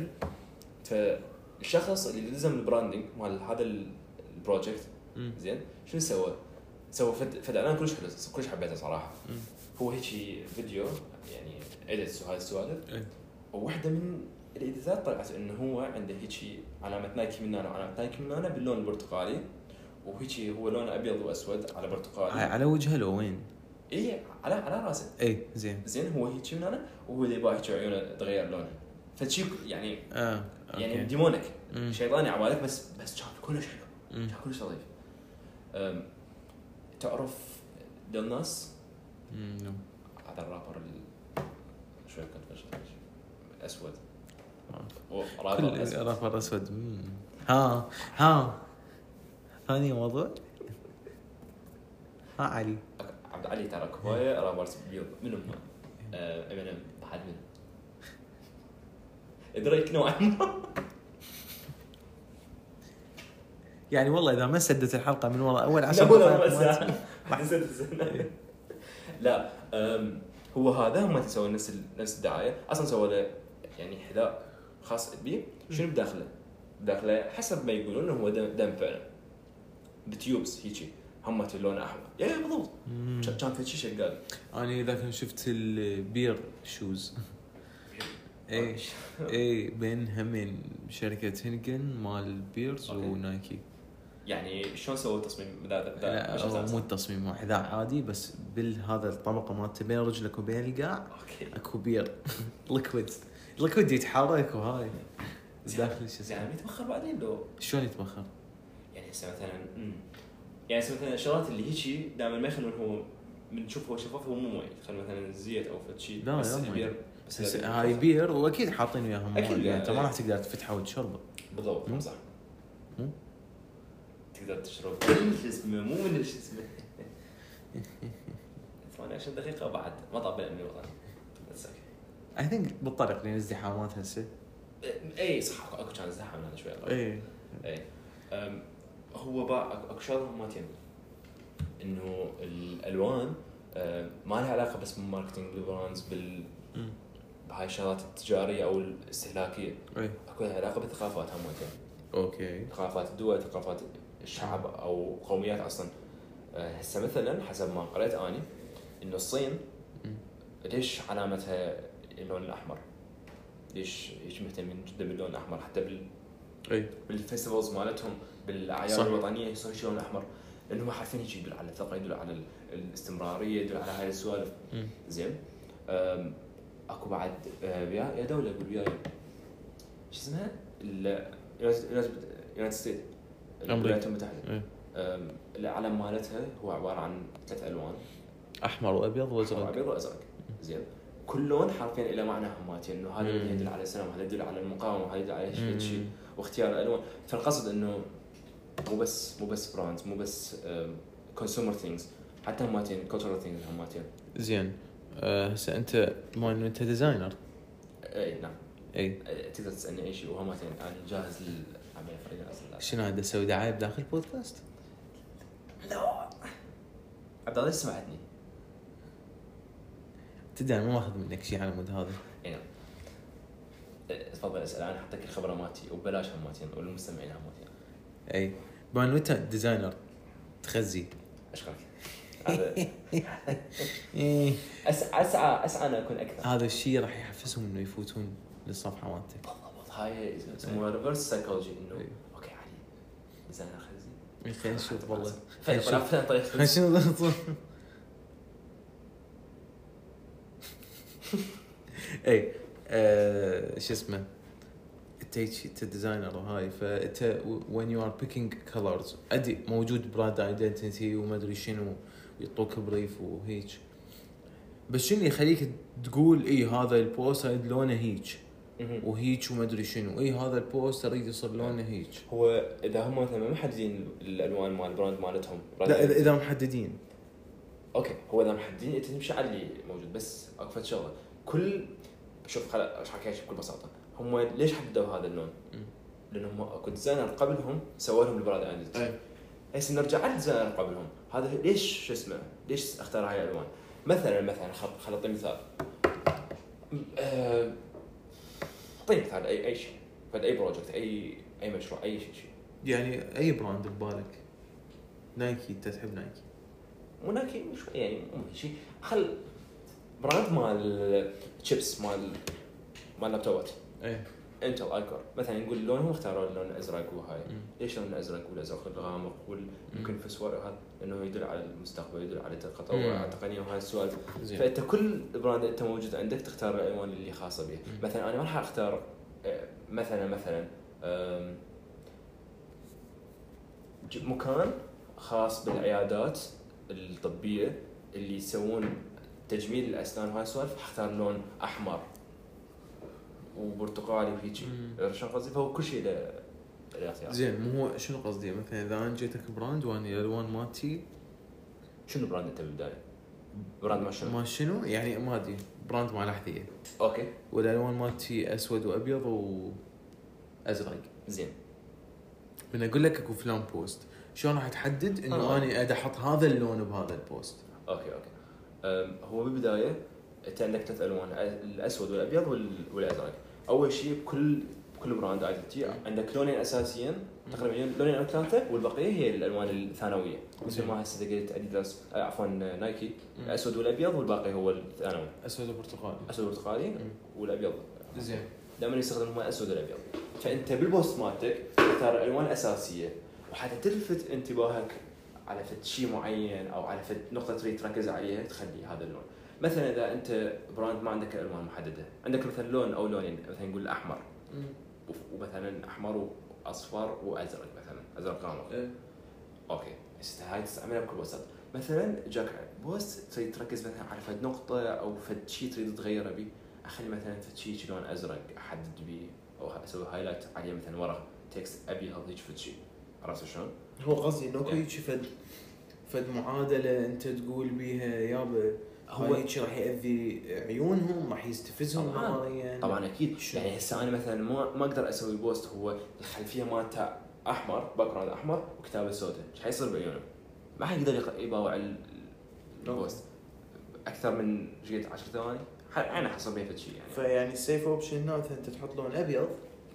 S1: له فالشخص اللي لزم البراندنج مال هذا ال- البروجكت
S2: مم.
S1: زين شنو سوى؟ سوى فد فد اعلان كلش حلو كلش حبيته صراحه
S2: مم.
S1: هو هيجي فيديو يعني اديتس وهاي السوالف
S2: إي.
S1: وواحده من الايديتات طلعت انه هو عنده هيجي علامه نايكي من هنا وعلامه نايكي من هنا باللون البرتقالي وهيجي هو لونه ابيض واسود على
S2: هاي
S1: برتقالي
S2: على وجهه لو وين؟
S1: اي إيه، على على راسه
S2: اي إيه، زين
S1: زين هو هيجي من هنا وهو اللي يبغى هيجي عيونه تغير لونها فشي يعني
S2: اه
S1: يعني
S2: أوكي.
S1: ديمونك
S2: مم.
S1: شيطاني عبالك بس بس كان كلش حلو
S2: مم.
S1: كان كلش لطيف أم، تعرف ديل ناس
S2: مم، نعم.
S1: هذا الرابر ال- شوي كنت بشرح اسود
S2: آه.
S1: ورابر
S2: كل
S1: اسود
S2: رفر اسود مم. ها ها ثاني موضوع ها علي
S1: أوكي، عبد علي ترى كفايه رابرز بيض أه، من امه امينيم بعد من دريك نوعا ما
S2: يعني والله اذا ما سدت الحلقه من ورا اول عشر
S1: لا، ولا ربع
S2: دقائق ما
S1: ساعة.
S2: إيه.
S1: نسيت السنة. لا أم، هو هذا هم سوى نفس ال- نفس الدعايه اصلا سوى له يعني حذاء خاص بيه شنو بداخله؟ بداخله حسب ما يقولون هو دم, دم فعلا بتيوبس هيجي هم اللون احمر يا بالضبط
S2: مم.
S1: كان- كان في شيء شغال
S2: انا ذاك يوم شفت البير شوز اي اي إيه، بين همين شركه هنكن مال بيرز
S1: أوكي.
S2: ونايكي
S1: يعني شلون سووا تصميم ذا ذا- ذا
S2: لا
S1: مش
S2: هو
S1: أساس.
S2: مو التصميم هو حذاء عادي بس بالهذا الطبقه مالته بين رجلك وبين القاع
S1: اوكي
S2: اكو بير ليكويد ليكويد يتحرك وهاي داخل شو
S1: زين
S2: اسمه
S1: عم يتبخر يعني بعدين لو
S2: شلون يتبخر؟
S1: يعني هسه مثلا مم. يعني هسه مثلا الشغلات اللي هيجي دائما ما يخلون هو من تشوف هو شفاف هو مو مي يخلون مثلا زيت او فد شيء
S2: لا،
S1: بس
S2: لا مي.
S1: البير بس
S2: بس
S1: البير
S2: هاي بير واكيد حاطين وياها مويه
S1: أكيد،
S2: يعني انت ما
S1: يعني.
S2: راح تقدر تفتحه وتشربه
S1: بالضبط
S2: مم.
S1: صح
S2: مم.
S1: تقدر تشرب من شو اسمه مو من شو اسمه 28 دقيقة بعد ما طاب الامن الوطني بس أوكي.
S2: اي ثينك بالطريق لين ازدحامات هسه
S1: اي إيه، صح اكو- اكو كان ازدحام هذا شوي الله
S2: اي
S1: اي أم، هو باع اكو- اكو شغله مالتين انه الالوان أم، أه، ما لها علاقه بس بالماركتينج بالبراندز بال
S2: أمم.
S1: بهاي الشغلات التجاريه او الاستهلاكيه
S2: اي
S1: اكو لها علاقه بالثقافات همتين
S2: اوكي
S1: ثقافات الدول ثقافات الشعب او قوميات اصلا أه، هسه مثلا حسب ما قريت اني انه الصين
S2: أمم.
S1: ليش علامتها اللون الاحمر؟ ليش ليش مهتمين جدا باللون الاحمر حتى بال
S2: اي
S1: إيه. بالفيستيفالز مالتهم بالاعياد
S2: صح.
S1: الوطنيه يصير شيء لون احمر لانهم عارفين هيك يدل على الثقه يدل على ال- الاستمراريه يدل على هاي السوالف
S2: أمم.
S1: زين أم، اكو بعد أه، ويا يا دوله اقول وياي شو اسمها؟ اليونايتد ستيت الولايات المتحده
S2: إي.
S1: أم، العلم مالتها هو عباره عن ثلاث الوان
S2: احمر وابيض
S1: أحمر
S2: وازرق
S1: ابيض وازرق زين كل لون حرفيا له معناهم مالتي انه هذا
S2: مم.
S1: يدل على السلام هذا يدل على المقاومه هذا يدل على شيء
S2: مم.
S1: شيء واختيار الالوان فالقصد انه مو بس مو بس براندز مو بس كونسيومر ثينجز حتى هماتين كلتشرال ثينجز هماتين
S2: زين آه، هسه انت بما انه انت ديزاينر إيه.
S1: اي نعم
S2: اي
S1: آه، تقدر تسالني اي شيء وهماتين انا جاهز للعمليه الفرديه اصلا
S2: شنو هذا اسوي دعايه بداخل البودكاست؟
S1: لا عبد الله ليش سمعتني؟
S2: تدري انا ما ماخذ منك شيء على مود هذا
S1: اي نعم آه، تفضل اسال انا حطيت الخبره مالتي وببلاش هماتين والمستمعين هماتين
S2: اي بما انه انت ديزاينر تخزي
S1: اشكرك هذا
S2: إيه.
S1: أس- اسعى اسعى ان اكون اكثر
S2: هذا الشيء راح يحفزهم انه يفوتون للصفحه مالتك
S1: بالضبط هاي يسموها ريفرس سايكولوجي انه
S2: إيه.
S1: اوكي علي زين انا خلزي
S2: يا أخي، نشوف والله
S1: فين
S2: نشوف.
S1: فين طريقة خلزي؟
S2: شنو الصوت؟ اي آه، شو اسمه انت هيك انت ديزاينر وهاي فانت وين يو ار بيكينج كلرز ادي موجود براند ايدنتيتي وما ادري شنو ويعطوك بريف وهيك بس شنو اللي يخليك تقول اي هذا البوستر لونه هيك
S1: مهم.
S2: وهيك وما ادري شنو اي هذا البوستر يصير لونه هيك
S1: هو اذا هم مثلا ما محددين الالوان مال البراند مالتهم
S2: لا اذا إذا محددين
S1: اوكي هو اذا محددين انت تمشي على اللي موجود بس اكو فد شغله كل شوف خل اشرح لك إياها بكل بساطه هم ليش حددوا هذا اللون؟
S2: مم.
S1: لان هم اكو ديزاينر قبلهم سووا لهم البراند
S2: إيه.
S1: ايدنتيتي هسه نرجع على الديزاينر قبلهم هذا ليش شو اسمه ليش اختار هاي الالوان مثلا مثلا خل خل اعطي مثال م- آه، طيب، اعطيني مثال اي اي شيء فد اي بروجكت اي اي مشروع اي شيء شيء
S2: يعني اي براند ببالك نايكي انت تحب نايكي
S1: وناكي مش يعني مو شيء خل براند مال تشيبس مال مال لابتوبات
S2: ايه
S1: انتل ايكور مثلا نقول لونهم اختاروا اللون الازرق وهاي
S2: مم.
S1: ليش لون الازرق والازرق الغامق وال- يمكن في السوالف هذا لانه يدل على المستقبل يدل على
S2: مم.
S1: التطور على التقنيه وهاي السوالف
S2: زين
S1: فانت كل براند انت موجود عندك تختار الالوان اللي خاصه به
S2: مم.
S1: مثلا انا ما راح اختار آه، مثلا مثلا آم، ج- مكان خاص بالعيادات الطبيه اللي يسوون تجميل الاسنان وهاي السوالف حختار لون احمر وبرتقالي وهيجي شلون قصدي فهو كل شيء له له اختيار
S2: زين مو هو شنو قصدي مثلا اذا انا جيتك براند وانا الالوان مالتي
S1: شنو براند انت بالبدايه؟ براند ما شنو؟
S2: ما شنو يعني ما ادري براند مال احذيه
S1: اوكي
S2: والالوان مالتي اسود وابيض وازرق
S1: زين
S2: من اقول لك اكو فلان بوست شلون راح تحدد انه
S1: آه.
S2: انا ادي احط هذا اللون بهذا البوست
S1: اوكي اوكي أم، هو بالبدايه انت عندك ثلاث الوان الاسود والابيض وال- والازرق اول شيء بكل بكل براند ايدنتي عندك لونين اساسيين تقريبا لونين او ثلاثه والبقيه هي الالوان الثانويه مثل ما هسه قلت اديداس آه، عفوا نايكي
S2: مم.
S1: الاسود والابيض والباقي هو الثانوي
S2: اسود وبرتقالي
S1: اسود برتقالي
S2: مم.
S1: والابيض
S2: زين
S1: دائما يستخدموا اسود والابيض فانت بالبوست مالتك تختار الوان اساسيه وحتى تلفت انتباهك على فد شيء معين او على فد نقطه تريد تركز عليها تخلي هذا اللون مثلا اذا انت براند ما عندك الوان محدده عندك مثلا لون او لونين مثلا نقول احمر
S2: مم.
S1: وف- ومثلا احمر واصفر وازرق مثلا ازرق غامق
S2: إيه.
S1: اوكي هسه هاي تستعملها بكل وسط مثلا جاك بوست تريد تركز مثلا على فد نقطة أو فد شيء تريد تغيره بيه أخلي مثلا فد شيء لون أزرق أحدد بيه أو أسوي هايلايت عليه مثلا ورق تكست أبيض هيك فد شيء عرفت شلون؟
S2: هو قصدي انه
S1: يعني.
S2: هيك فد فد معادله انت تقول بيها يابا هو
S1: هو-
S2: هيك راح ياذي عيونهم راح يستفزهم
S1: طبعاً.
S2: نهائيا
S1: طبعا أكيد
S2: شو؟
S1: يعني هسه أنا مثلا ما ما أقدر أسوي بوست هو الخلفية مالته أحمر باك جراوند أحمر وكتابة سوداء ايش حيصير بعيونه؟ ما حيقدر يق- يباوع ال- البوست أكثر من ايش قلت 10 ثواني ح- أنا حصل بيه فد شيء يعني
S2: فيعني السيف اوبشن هنا مثلا انت تحط لون ابيض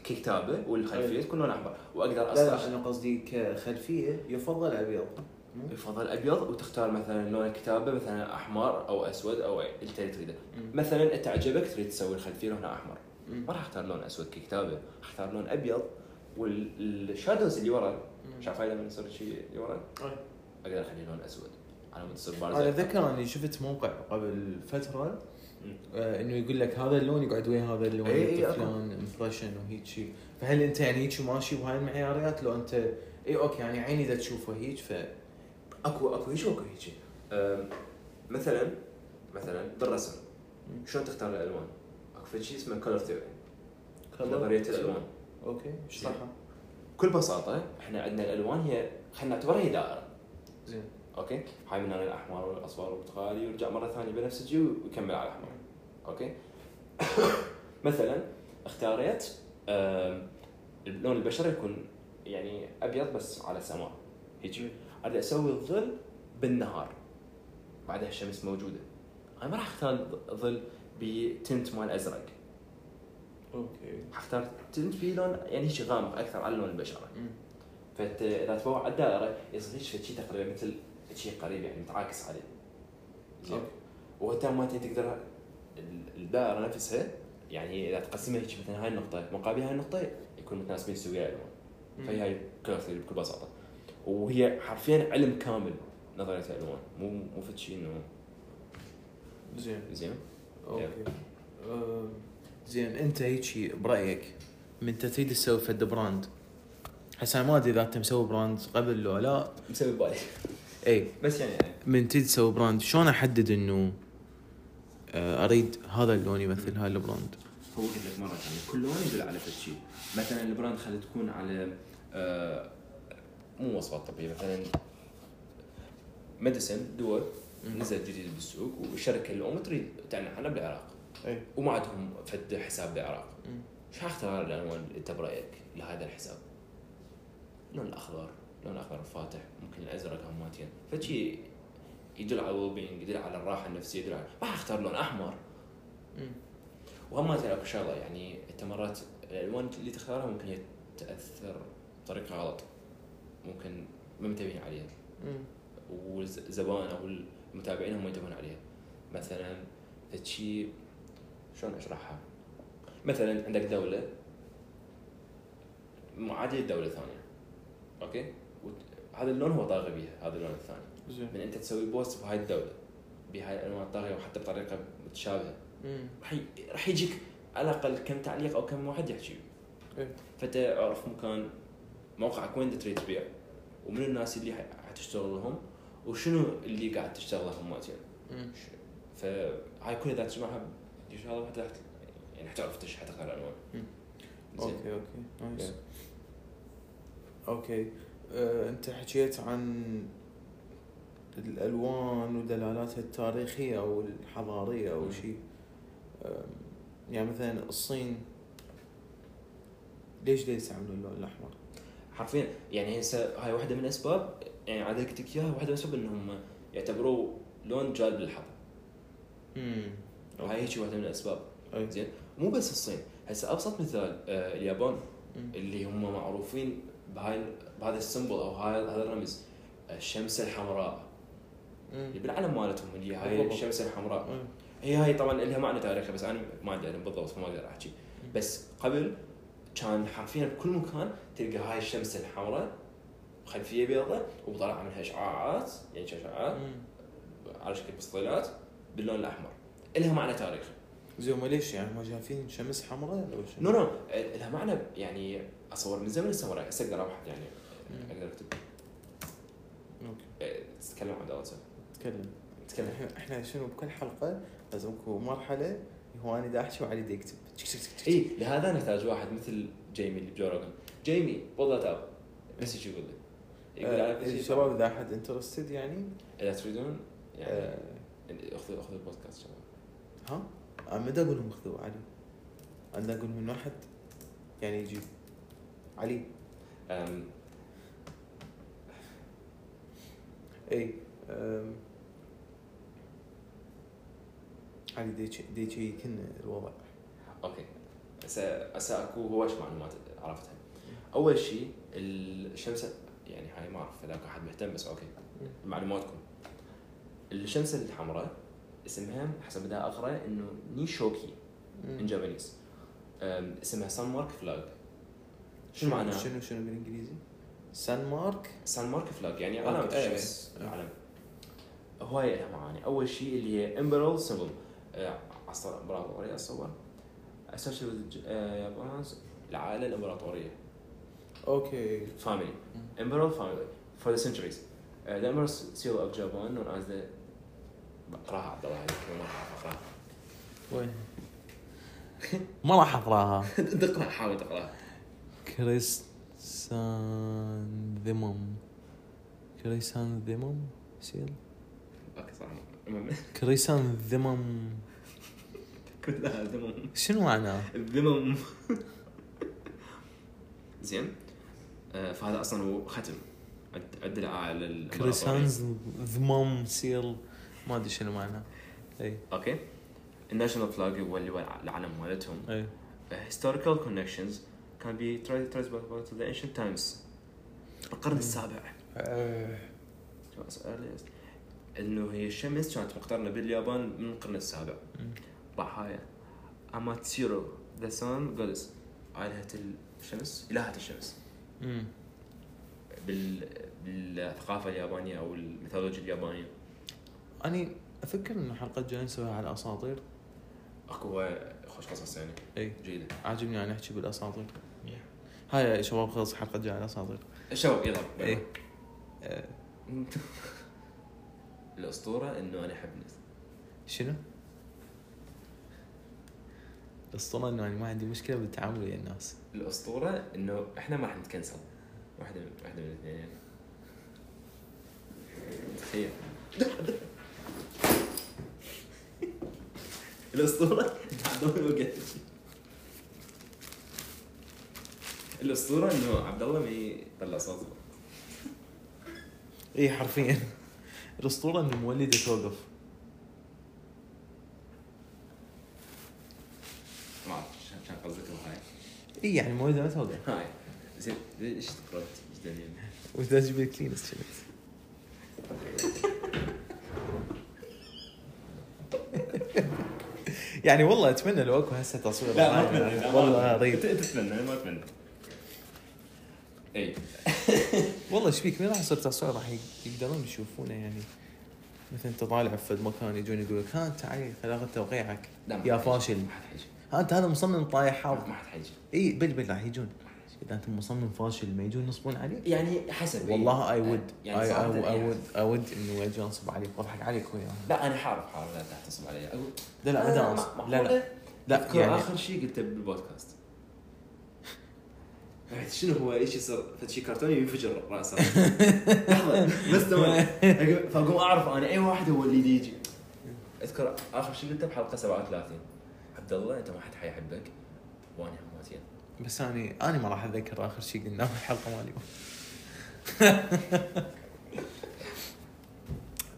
S1: ككتابه والخلفيه
S2: أي.
S1: تكون لون احمر واقدر
S2: أيوة. لا لا
S1: اصلا
S2: انا قصدي كخلفيه يفضل ابيض مو؟
S1: يفضل ابيض وتختار مثلا لون الكتابه مثلا احمر او اسود او أي- اللي تريد تريده
S2: مم.
S1: مثلا انت عجبك تريد تسوي الخلفيه لونها احمر
S2: مم.
S1: ما راح اختار لون اسود ككتابه اختار لون ابيض والشادوز اللي ورا
S2: مم.
S1: شايف هاي لما يصير شيء اللي ورا
S2: أي.
S1: اقدر اخليه لون اسود على مود تصير
S2: انا
S1: بارزه
S2: اتذكر اني شفت موقع قبل فتره
S1: مم.
S2: آه، انه يقول لك هذا اللون يقعد ويا هذا اللون
S1: إي إي
S2: يعطيك
S1: أكو.
S2: لون امبريشن وهيك شيء فهل انت يعني هيك ماشي بهاي المعيارات لو انت اي اوكي يعني عيني اذا تشوفه هيك ف
S1: اكو اكو هيك واكو هيك أم، مثلا مثلا بالرسم شلون تختار الالوان؟ اكو فد شيء اسمه كولر ثيوري
S2: Color
S1: نظريه
S2: theory.
S1: الالوان
S2: اوكي ايش صح
S1: بكل بساطه احنا عندنا الالوان هي خلينا نعتبرها هي دائره
S2: زين
S1: اوكي هاي من الاحمر والاصفر والبرتقالي ويرجع مره ثانيه بنفسجي ويكمل على الاحمر اوكي مثلا اختاريت آم، لون البشره يكون يعني ابيض بس على سماء هيجي اريد اسوي الظل بالنهار بعدها الشمس موجوده انا ما راح اختار ظل بتنت مال ازرق
S2: اوكي
S1: حختار تنت فيه لون يعني هيك غامق اكثر على لون البشره فت اذا تبوع على الدائره يصير هيك شيء تقريبا مثل شيء قريب يعني متعاكس عليه زين
S2: أوكي.
S1: وانت ما أنت تقدر ال- الدائره نفسها يعني اذا تقسمها هيك مثلا هاي النقطه مقابل هاي النقطه يكون متناسبين سويا الوان فهي هاي كلر ثيوري بكل بساطه وهي حرفيا علم كامل نظريه الالوان مو مو فد شيء انه
S2: زين
S1: زين
S2: اوكي آه، زين انت هيجي برايك من انت تريد تسوي فد براند هسه أنا ما ادري اذا انت مسوي براند قبل لو لا إيه.
S1: مسوي بالي
S2: اي
S1: بس يعني يعني
S2: من تريد تسوي براند شلون احدد انه آه، اريد هذا اللون يمثل هذا البراند
S1: هو قلت لك مره ثانيه كل لون يدل على فد شيء مثلا البراند خلي تكون على آه، مو وصفات طبيه مثلا ميديسن دول نزل جديد بالسوق والشركه الام تريد تعلن عنه بالعراق
S2: اي
S1: وما عندهم فد حساب بالعراق شو اختار العنوان اللي انت برايك لهذا الحساب؟ لون الاخضر لون اخضر فاتح ممكن الازرق هماتين فشي يدل على الويل يدل على الراحه النفسيه يدل على ما اختار لون احمر وهماتين اكو شغله يعني انت مرات الالوان اللي تختارها ممكن تاثر بطريقه غلط ممكن ما منتبهين عليها والزبائن او المتابعين هم ينتبهون عليها مثلا فشي شلون اشرحها مثلا عندك دوله معاديه لدوله ثانيه اوكي وت- هذا اللون هو طاغي بيها هذا اللون الثاني
S2: زين
S1: من انت تسوي بوست بهاي الدوله بهاي الانواع الطاغيه وحتى بطريقه متشابهه راح ي- راح يجيك على الاقل كم تعليق او كم واحد يحكي
S2: إيه.
S1: فانت اعرف مكان موقعك وين تريد تبيع ومن الناس اللي ح- حتشتغل لهم وشنو اللي قاعد تشتغله هماتين فهاي كلها اذا تجمعها ان شاء الله حتى يعني حتعرف ايش حتقرا العنوان
S2: مم.
S1: زين
S2: اوكي اوكي نايس
S1: Yeah.
S2: اوكي آه، انت حكيت عن الالوان ودلالاتها التاريخيه او الحضاريه او
S1: مم.
S2: شيء آم، يعني مثلا الصين ليش دا يستعملوا اللون الاحمر؟
S1: حرفيا يعني هسه هاي واحده من الاسباب يعني عاد قلت لك اياها واحده من الاسباب انهم يعتبروه لون جالب للحظ
S2: امم
S1: هاي هيك واحده من الاسباب
S2: أي.
S1: زين مو بس الصين هسه ابسط مثال آه، اليابان
S2: مم.
S1: اللي هم معروفين بهاي بهذا السمبل او هاي هذا الرمز الشمس الحمراء
S2: مم.
S1: اللي بالعلم مالتهم اللي هاي
S2: بالضبط.
S1: الشمس الحمراء
S2: أي.
S1: هي هاي طبعا لها معنى تاريخي بس انا ما عندي علم بالضبط فما اقدر احكي
S2: مم.
S1: بس قبل كان حرفيا بكل مكان تلقى هاي الشمس الحمراء خلفيه بيضاء وطالعه منها اشعاعات يعني اشعاعات
S2: مم.
S1: على شكل مسطيلات باللون الاحمر لها معنى تاريخي
S2: زين هم ليش يعني هم شايفين شمس حمراء ولا شنو؟
S1: نو نو لها معنى يعني اصور من زمن الساموراي هسه اقدر ابحث يعني
S2: مم.
S1: اقدر اكتب
S2: اوكي
S1: تتكلم عن دوله
S2: تكلم
S1: تتكلم
S2: إحنا- احنا شنو بكل حلقه لازم اكو مرحله هو انا دا احكي وعلي دا يكتب تشك- تشك- تشك- تشك.
S1: اي إيه، لهذا نحتاج واحد مثل جيمي اللي بجورجن جيمي والله تاب بس ايش يقول لي؟ يقول
S2: آه،
S1: على كل شيء
S2: الشباب اذا احد انترستد يعني
S1: اذا تريدون يعني
S2: آه،
S1: اخذوا اخذوا البودكاست شباب
S2: ها انا ما دا اقول لهم اخذوا علي انا دا اقول من واحد يعني يجي علي
S1: أم،
S2: اي أم. علي ديتشي ديتشي كنا الوضع
S1: اوكي هسه هسه اكو هواش معلومات عرفتها اول شيء الشمس يعني هاي ما اعرف اذا اكو احد مهتم بس اوكي معلوماتكم الشمس الحمراء اسمها حسب ما دا اقرا انه نيشوكي ان
S2: Hmm.
S1: جابانيز أم، Um, اسمها سان مارك فلاج شنو معناها؟
S2: شنو شنو بالانجليزي؟ سان مارك
S1: سان مارك فلاج يعني
S2: أوكي.
S1: علامة
S2: إيه.
S1: الشمس
S2: إيه.
S1: علامة هواي لها معاني اول شيء اللي هي آه، امبرال سيمبل امبراطورية اتصور اسوشيال باليابان آه، العائلة الامبراطورية
S2: اوكي
S1: family
S2: Hmm.
S1: امبرال family for the centuries Uh, the emperor seal of Japan known as the بقراها عبد الله هذيك ما أعرف أقراها.
S2: وين ما راح اقراها
S1: دق حاول تقراها
S2: كريسان ذمم كريسان ذمم سيل
S1: اوكي صراحه المهم
S2: كريسان ذمم
S1: كلها ذمم
S2: شنو معناه؟
S1: الذمم زين آه، فهذا اصلا هو ختم عد- عدل على ال-
S2: كريسانز ذمم سيل ما ادري شنو إيه. معناه اي
S1: اوكي الناشونال فلاج هو اللي هو العلم مالتهم Uh,
S2: اي
S1: historical connections can be tra- traced back to the ancient times القرن السابع
S2: إيه.
S1: انه هي الشمس كانت مقترنه باليابان من القرن السابع ضحايا اماتسيرو ذا سان جودس الهه الشمس الهه الشمس
S2: أمم.
S1: بال... بالثقافه اليابانيه او الميثولوجيا اليابانيه
S2: اني افكر ان حلقه جايه نسويها على الاساطير
S1: اكو خوش قصص يعني
S2: اي
S1: جيده
S2: إيه. عاجبني ان احكي بالاساطير هاي يا شباب خلص حلقه جايه على إيه. الاساطير
S1: الشباب يلا
S2: اي آه،
S1: الاسطوره انه انا احب ناس
S2: شنو؟ الاسطوره انه انا يعني ما عندي مشكله بالتعامل ويا الناس
S1: الاسطوره انه احنا ما راح نتكنسل واحده من واحده من الاثنين يعني تخيل الاسطوره عبد الله وقت الاسطوره انه عبد الله ما يطلع صوته
S2: اي حرفيا الاسطوره ان مولده توقف
S1: ما اعرف شا- كان قصدك هاي
S2: اي يعني مولده ما توقف
S1: هاي زين ايش تقرا جدا يعني
S2: واذا تجيب لي كلينس شنو؟ يعني والله اتمنى لو اكو هسه تصوير معاي. والله
S1: اريد
S2: غريب
S1: تتمنى ما اتمنى اي
S2: والله ايش بيك مين راح يصير تصوير راح ي- يقدرون يشوفونه يعني مثلا انت طالع في مكان يجون يقول لك ها تعال خلاص توقيعك
S1: لا، ما
S2: يا
S1: راح يجي.
S2: فاشل.
S1: ما حد حيجي
S2: ها انت هذا مصمم طايح
S1: ما
S2: حظ
S1: حد حيجي
S2: اي بل بل راح يجون اذا انت مصمم فاشل ما يجون ينصبون عليك
S1: يعني حسب
S2: والله اي ود
S1: يعني
S2: اي
S1: صراحة يعني
S2: اود اود انه اجي انصب عليك واضحك عليك وياهم
S1: لا انا حارف حارف لا لا تحسب علي اقول
S2: لا لا ما
S1: أنا
S2: دام
S1: ما-
S2: لا لا
S1: معقولة؟
S2: لا
S1: أذكر
S2: يعني
S1: اخر شيء قلته بالبودكاست بعد شنو هو ايش يصير فد شيء كرتوني ينفجر راسه لحظه بس تمام أقول- فاقوم اعرف انا اي واحد هو اللي يجي اذكر اخر شيء قلته بحلقه 37 عبد الله انت ما حد حيحبك وانا هماتين
S2: بس اني اني ما راح اتذكر اخر شيء قلناه بالحلقه مال اليوم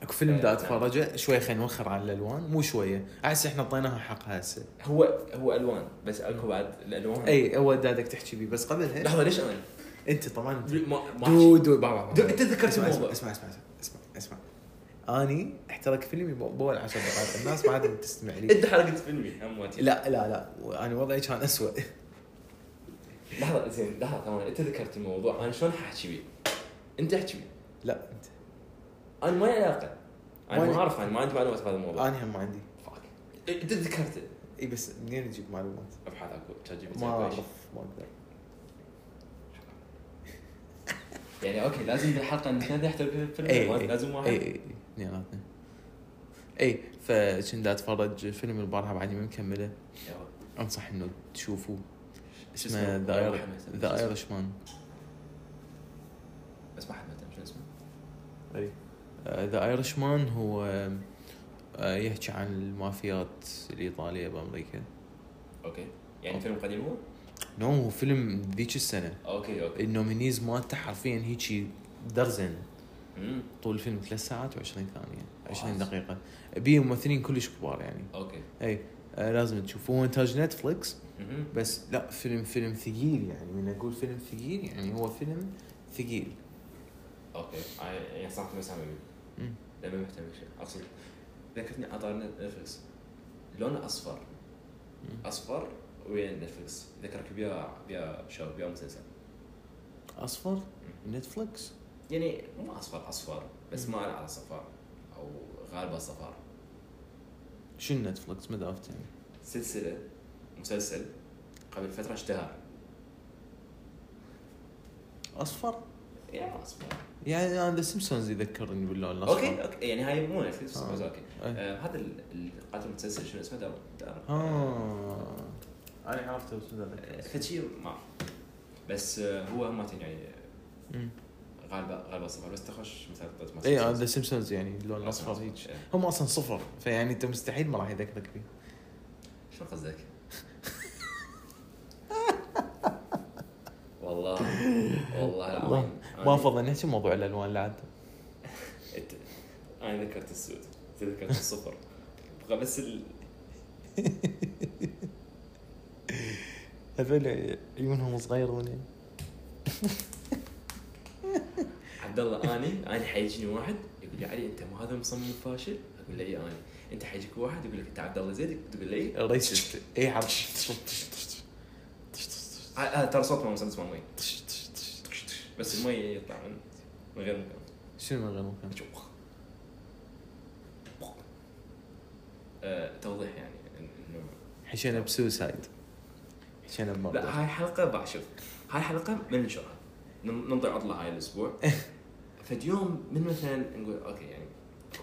S2: اكو فيلم دا اتفرجه شوي خلينا نوخر على الالوان مو شويه احس احنا اعطيناها حقها هسه
S1: هو هو الوان بس اكو بعد الالوان
S2: اي هو دادك تحكي بيه بس قبلها
S1: لحظه ليش انا؟
S2: انت طبعا
S1: ما ما
S2: دو دو بابا
S1: دو- أنت ذكرت
S2: اسمع اسمع
S1: الموضوع.
S2: اسمع اسمع اسمع, اسمع. اني احترق فيلمي بو- باول عشر دقائق الناس ما عاد تستمع لي
S1: انت حلقه فيلمي هماتين
S2: لا لا لا انا وضعي كان اسوء
S1: لحظة زين لحظة ثواني انت ذكرت الموضوع انا شلون حاحكي بيه؟ انت احكي بيه
S2: لا انت
S1: انا ما لي علاقة انا
S2: وين؟
S1: ما اعرف انا ما عندي معلومات بهذا الموضوع
S2: انا هم ما عندي
S1: فاك انت ذكرته
S2: اي بس منين اجيب معلومات؟
S1: ابحث اكو تشات جي بي تي
S2: ما
S1: أكو أي
S2: اعرف
S1: شيء.
S2: ما اقدر
S1: يعني اوكي لازم بالحلقة
S2: إيه.
S1: نتنادى احترق فيلم
S2: اي اي
S1: لازم واحد
S2: اي اي اثنيناتنا اي فكنت اتفرج فيلم البارحه بعدني ما مكمله
S1: يلا.
S2: انصح انه تشوفوه
S1: شو
S2: اسمه ذا
S1: والله
S2: اير
S1: حماس.
S2: ذا ايرش مان
S1: بس ما حد مهتم شو اسمه؟
S2: ذا ايرش مان آه، هو آه، يحكي عن المافيات الايطاليه بامريكا
S1: اوكي يعني فيلم قديم هو؟
S2: نو هو فيلم ذيك السنه
S1: اوكي اوكي
S2: النومينيز مالته حرفيا هيجي درزن إيه.
S1: امم
S2: طول الفيلم ثلاث ساعات و20 ثانيه 20
S1: واو.
S2: دقيقه بيه ممثلين كلش كبار يعني
S1: اوكي
S2: اي آه، لازم تشوفه هو انتاج نتفليكس
S1: مهم.
S2: بس لا فيلم فيلم ثقيل يعني من اقول فيلم ثقيل يعني هو فيلم ثقيل
S1: اوكي أنا- يعني صراحة ما سامع بيه.
S2: مم.
S1: لا ما مهتم بشيء اصلا ذكرتني اطار نتفلكس لونه اصفر
S2: مم.
S1: اصفر ويا نتفلكس ذكرك بيا بيا شو بيا مسلسل
S2: اصفر نتفلكس
S1: يعني مو اصفر اصفر بس
S2: مم.
S1: ما على صفار او غالبا صفار
S2: شنو نتفلكس ماذا عرفت يعني
S1: سلسله مسلسل قبل فتره اشتهر
S2: اصفر
S1: يعني ما أصبر.
S2: يعني انا ذا سيمبسونز يذكرني باللون الاصفر
S1: اوكي اوكي يعني هاي مو نتفلكس
S2: آه.
S1: بس اوكي
S2: أي.
S1: آه، هذا ال- القاتل المتسلسل شنو اسمه دار دار
S2: آه. اه انا عرفته بس ما أتذكر اسمه.
S1: فشي آه، ما بس آه، هو همات يعني
S2: أمم.
S1: غالبا غالبا صفر بس تخش مثلا طلعت ما
S2: اي
S1: صفر.
S2: آه، ذا سيمبسونز يعني اللون الاصفر هيك
S1: إيه.
S2: هم اصلا صفر فيعني انت مستحيل ما راح يذكرك فيه
S1: شو قصدك؟ والله والله العظيم يعني
S2: ما افضل نحكي موضوع الالوان العاد
S1: أنت- انا ذكرت السود أنت ذكرت الصفر أبغى بس ال...
S2: هذول عيونهم صغيرون يعني.
S1: عبد الله اني اني حيجيني واحد يقول لي علي انت مو هذا مصمم فاشل؟ اقول له اي اني انت حيجيك واحد يقول لك انت عبد الله زيد تقول له اي
S2: ريسست
S1: إيه،
S2: اي حرش
S1: هذا آه، ترى صوت ما مسمى اسمه مي بس المي يطلع من من غير مكان
S2: شنو من غير مكان؟
S1: آه، توضيح يعني انه
S2: حشينا بسوسايد حشينا بمرض
S1: لا هاي حلقه بقى شوف هاي حلقه ما ننشرها نم- ننطي عطله هاي الاسبوع فد يوم من مثلا نقول اوكي يعني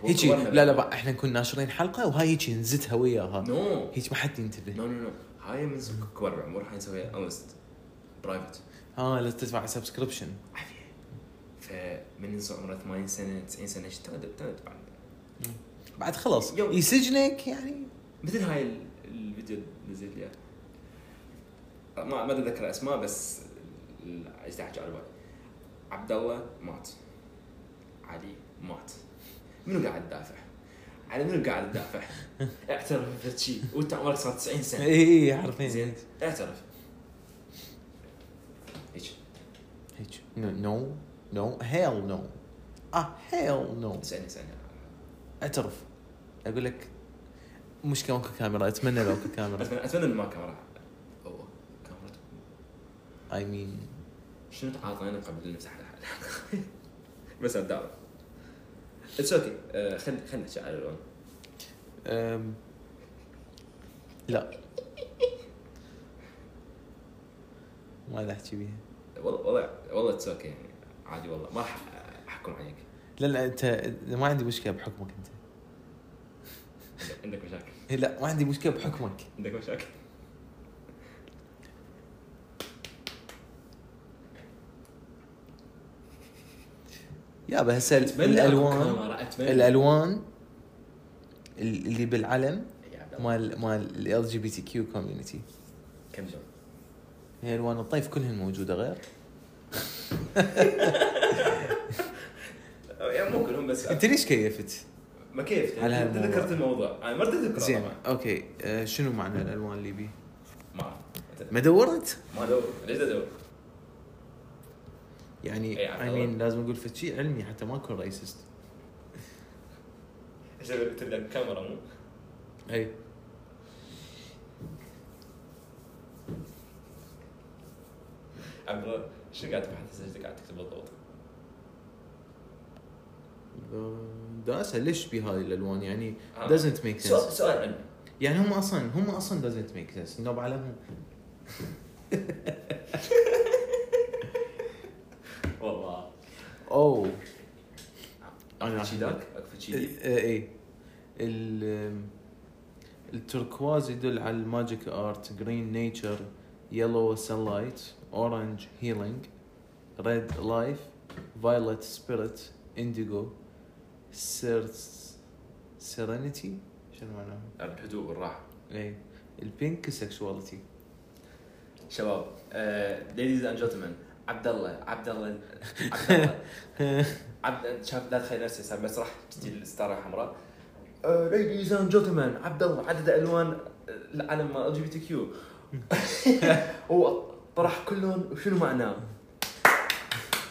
S1: هو
S2: هيجي
S1: صورنا
S2: لا لا
S1: بقى.
S2: بقى احنا كنا ناشرين حلقه وهاي هيجي نزتها وياها
S1: نو
S2: هيجي ما حد ينتبه
S1: نو نو نو هاي من سك- كبار العمر هاي نسويها اونست برايفت
S2: اه لازم تدفع سبسكريبشن
S1: عافيه فمن ينسى عمره 80 سنه 90 سنه ايش تعود تعود بعد
S2: بعد خلاص
S1: يوم.
S2: يسجنك يعني
S1: مثل هاي ال- الفيديو اللي نزلت لي إياه. ما ما اتذكر اسماء بس ال- ايش احكي على بالي عبد الله مات علي مات منو قاعد يدافع؟ على منو قاعد يدافع؟ اعترف بهالشي وانت عمرك صار 90 سنه
S2: اي اي عارفين
S1: زين اعترف هيك
S2: هيك نو نو هيل نو اه هيل نو
S1: اسالني اسالني
S2: اعترف اقول لك مش كان ماكو كاميرا اتمنى لو اكو كاميرا
S1: اتمنى اتمنى إن ما كاميرا أو كاميرا
S2: اي مين
S1: شنو تعاطينا قبل نمسح الحلقه؟ بس الدعوه اتس اوكي خلينا خلينا نحكي على الالوان
S2: لا ما راح احكي بيها
S1: والله والله والله اتس اوكي يعني عادي والله ما راح احكم عليك
S2: لا لا انت ما عندي مشكله بحكمك انت
S1: عندك مشاكل
S2: إيه، لا ما عندي مشكله بحكمك
S1: عندك مشاكل
S2: يا هسه الالوان
S1: الالوان الالوان
S2: الالوان اللي بالعلم مال مال ال جي بي تي كيو كوميونتي
S1: كم جون
S2: هي الوان الطيف كلهن موجوده غير
S1: يعني مو كلهم بس
S2: انت ليش كيفت؟
S1: ما كيف
S2: على
S1: انت
S2: هالموضوع.
S1: ذكرت الموضوع انا ما رضيت اذكره
S2: زين
S1: طبعا
S2: اوكي آه، شنو معنى الالوان اللي بيه؟
S1: ما اعرف
S2: ما دورت؟
S1: ما ادور ليش ادور؟ إيه،
S2: يعني
S1: عم
S2: اي
S1: دور.
S2: مين لازم اقول شيء علمي حتى ما اكون ريسست
S1: ايش تبدا الكاميرا مو؟
S2: اي
S1: عبد الله شنو قاعد تبحث إيش قاعد تكتب بالضبط؟
S2: آه، دا اسال ليش بهاي الالوان يعني
S1: آه.
S2: doesn't make
S1: سؤال
S2: sense
S1: سؤال علمي
S2: يعني هم اصلا هم اصلا doesn't make sense انه بعلمهم
S1: والله
S2: اوه
S1: انا
S2: أنا إيه.
S1: شي داك اكفي شي
S2: اي ال التركواز يدل على الماجيك ارت جرين نيتشر يلو سنلايت اورنج هيلينج ريد لايف فايلت سبيريت انديجو سيرينيتي شنو معناها؟ إيه.
S1: الهدوء والراحه
S2: اي البينك سكشواليتي
S1: شباب آه، ليديز اند جنتلمان عبد الله عبد الله عبد الله عبد شاف لا تخيل نفسي صار مسرح تجي آه، الستاره الحمراء ليديز اند جنتلمان عبد الله عدد الوان آه، العلم مال جي بي تي كيو هو طرح كل لون وشنو معناه؟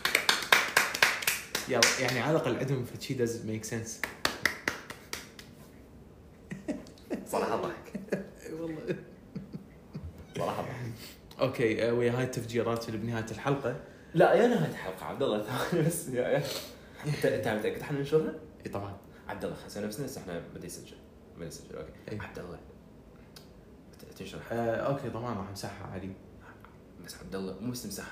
S2: يلا يعني على الاقل عندهم فشي داز ميك سنس
S1: صراحه ضحك
S2: والله
S1: صراحه ضحك
S2: اوكي آه، ويا هاي التفجيرات اللي بنهايه الحلقه
S1: لا يا نهايه الحلقه عبد الله ثواني بس يا يا انت انت متاكد احنا ننشرها؟
S2: اي طبعا
S1: عبد الله خلينا نسوي نفسنا بس احنا بدا يسجل بدا يسجل اوكي
S2: إيه.
S1: عبد الله ت- تنشر حق
S2: آه اوكي طبعا راح امسحها علي
S1: بس عبد الله مو بس تمسح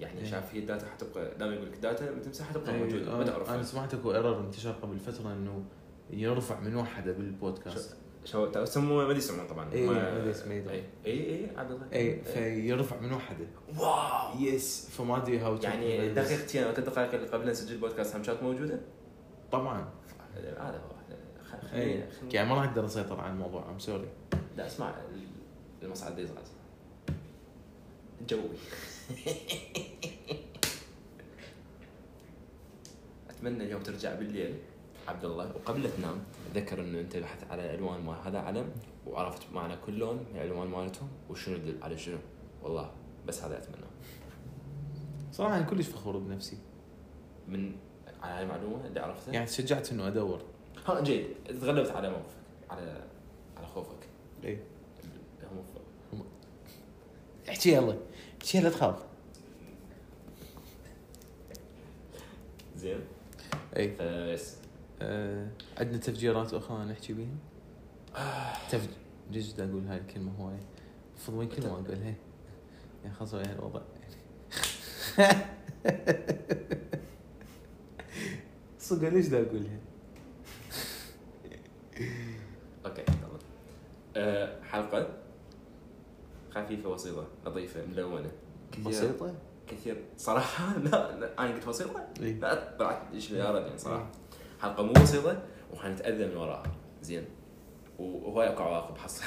S1: يعني
S2: إيه. آه،
S1: شاف هي الداتا حتبقى دائما يقول لك داتا لما تمسحها تبقى موجوده ما
S2: أنا, انا
S1: تعرف
S2: سمعت اكو ايرور انتشر قبل فتره انه يرفع من وحده بالبودكاست
S1: شو سموه ما ادري يسمونه طبعا
S2: إيه،
S1: ما-
S2: ما أدري اسمه يدري.
S1: اي اي اي عبد الله
S2: اي
S1: إيه.
S2: فيرفع من وحده
S1: واو
S2: يس فما ادري هاو تو
S1: يعني
S2: بس-
S1: دقيقتين او ثلاث دقائق اللي قبل نسجل بودكاست هم شات موجوده
S2: طبعا
S1: هذا هو خ-
S2: اي
S1: خلينا إيه، خلينا-
S2: يعني ما راح اقدر اسيطر على الموضوع ام سوري
S1: لا اسمع المصعد ده يزغز جوي اتمنى اليوم ترجع بالليل عبد الله وقبل لا تنام تذكر انه انت بحثت على الوان مال هذا علم وعرفت معنى كل لون من الالوان مالتهم وشنو يدل على شنو والله بس هذا اتمنى
S2: صراحه انا كلش فخور بنفسي
S1: من على هاي المعلومه اللي عرفتها
S2: يعني تشجعت انه ادور
S1: ها جيد تغلبت على موقفك على على خوفك
S2: اي
S1: هم
S2: احكي يلا احكي لا تخاف
S1: زين
S2: اي
S1: فيس
S2: آه، عندنا تفجيرات اخرى نحكي بيها تفج ليش دا اقول هاي الكلمه هواي المفروض وين كلمه اقولها يعني خلاص ويا الوضع صدق ليش دا اقولها
S1: اوكي تمام أه حلقه خفيفه بسيطه لطيفه ملونه كثير-
S2: بسيطه
S1: كثير صراحه لا, لا انا قلت بسيطه
S2: اي
S1: لا طلعت ايش يا رجل يعني صراحه حلقه مو بسيطه وحنتاذى من وراها زين و- وهواي اكو عواقب حصل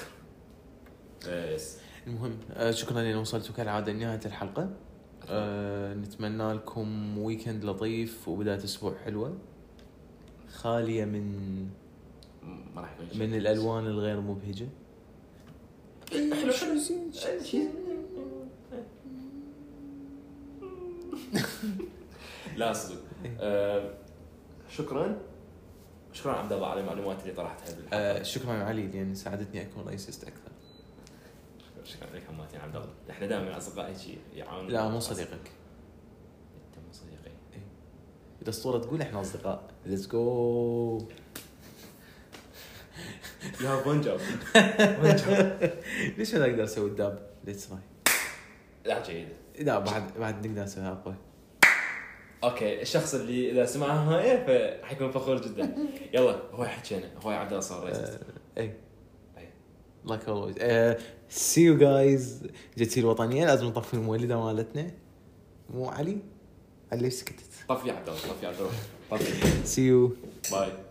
S1: آه، يس
S2: المهم آه، شكرا لان وصلتوا كالعاده لنهايه الحلقه آه، نتمنى لكم ويكند لطيف وبدايه اسبوع حلوه خاليه من
S1: ما راح يكون شيء.
S2: من الالوان الغير مبهجه
S1: حلو حلو
S2: شيء-
S1: لا صدق آه، شكرا شكرا عبد الله على المعلومات اللي طرحتها
S2: آه،
S1: بالحلقه
S2: شكرا علي لان ساعدتني اكون ريسست اكثر
S1: شكرا لك هماتين عبد الله احنا دائما اصدقاء هيك يعاونون
S2: لا مو صديقك
S1: انت مو صديقي
S2: اذا الصوره تقول احنا اصدقاء ليتس جو
S1: يا بونجاب
S2: ليش انا اقدر اسوي الداب ليتس تراي
S1: لا جيد
S2: لا بعد بعد نقدر نسويها اقوى
S1: اوكي الشخص اللي اذا سمعها هاي فحيكون فخور جدا يلا هو حكينا هو عبد الله صار
S2: آه.
S1: رئيس
S2: اي
S1: إي.
S2: لايك اولويز سي يو جايز جتي الوطنيه لازم نطفي المولده مالتنا مو علي علي ليش سكتت
S1: طفي عبد الله طفي عبد الله طفي
S2: سي يو
S1: باي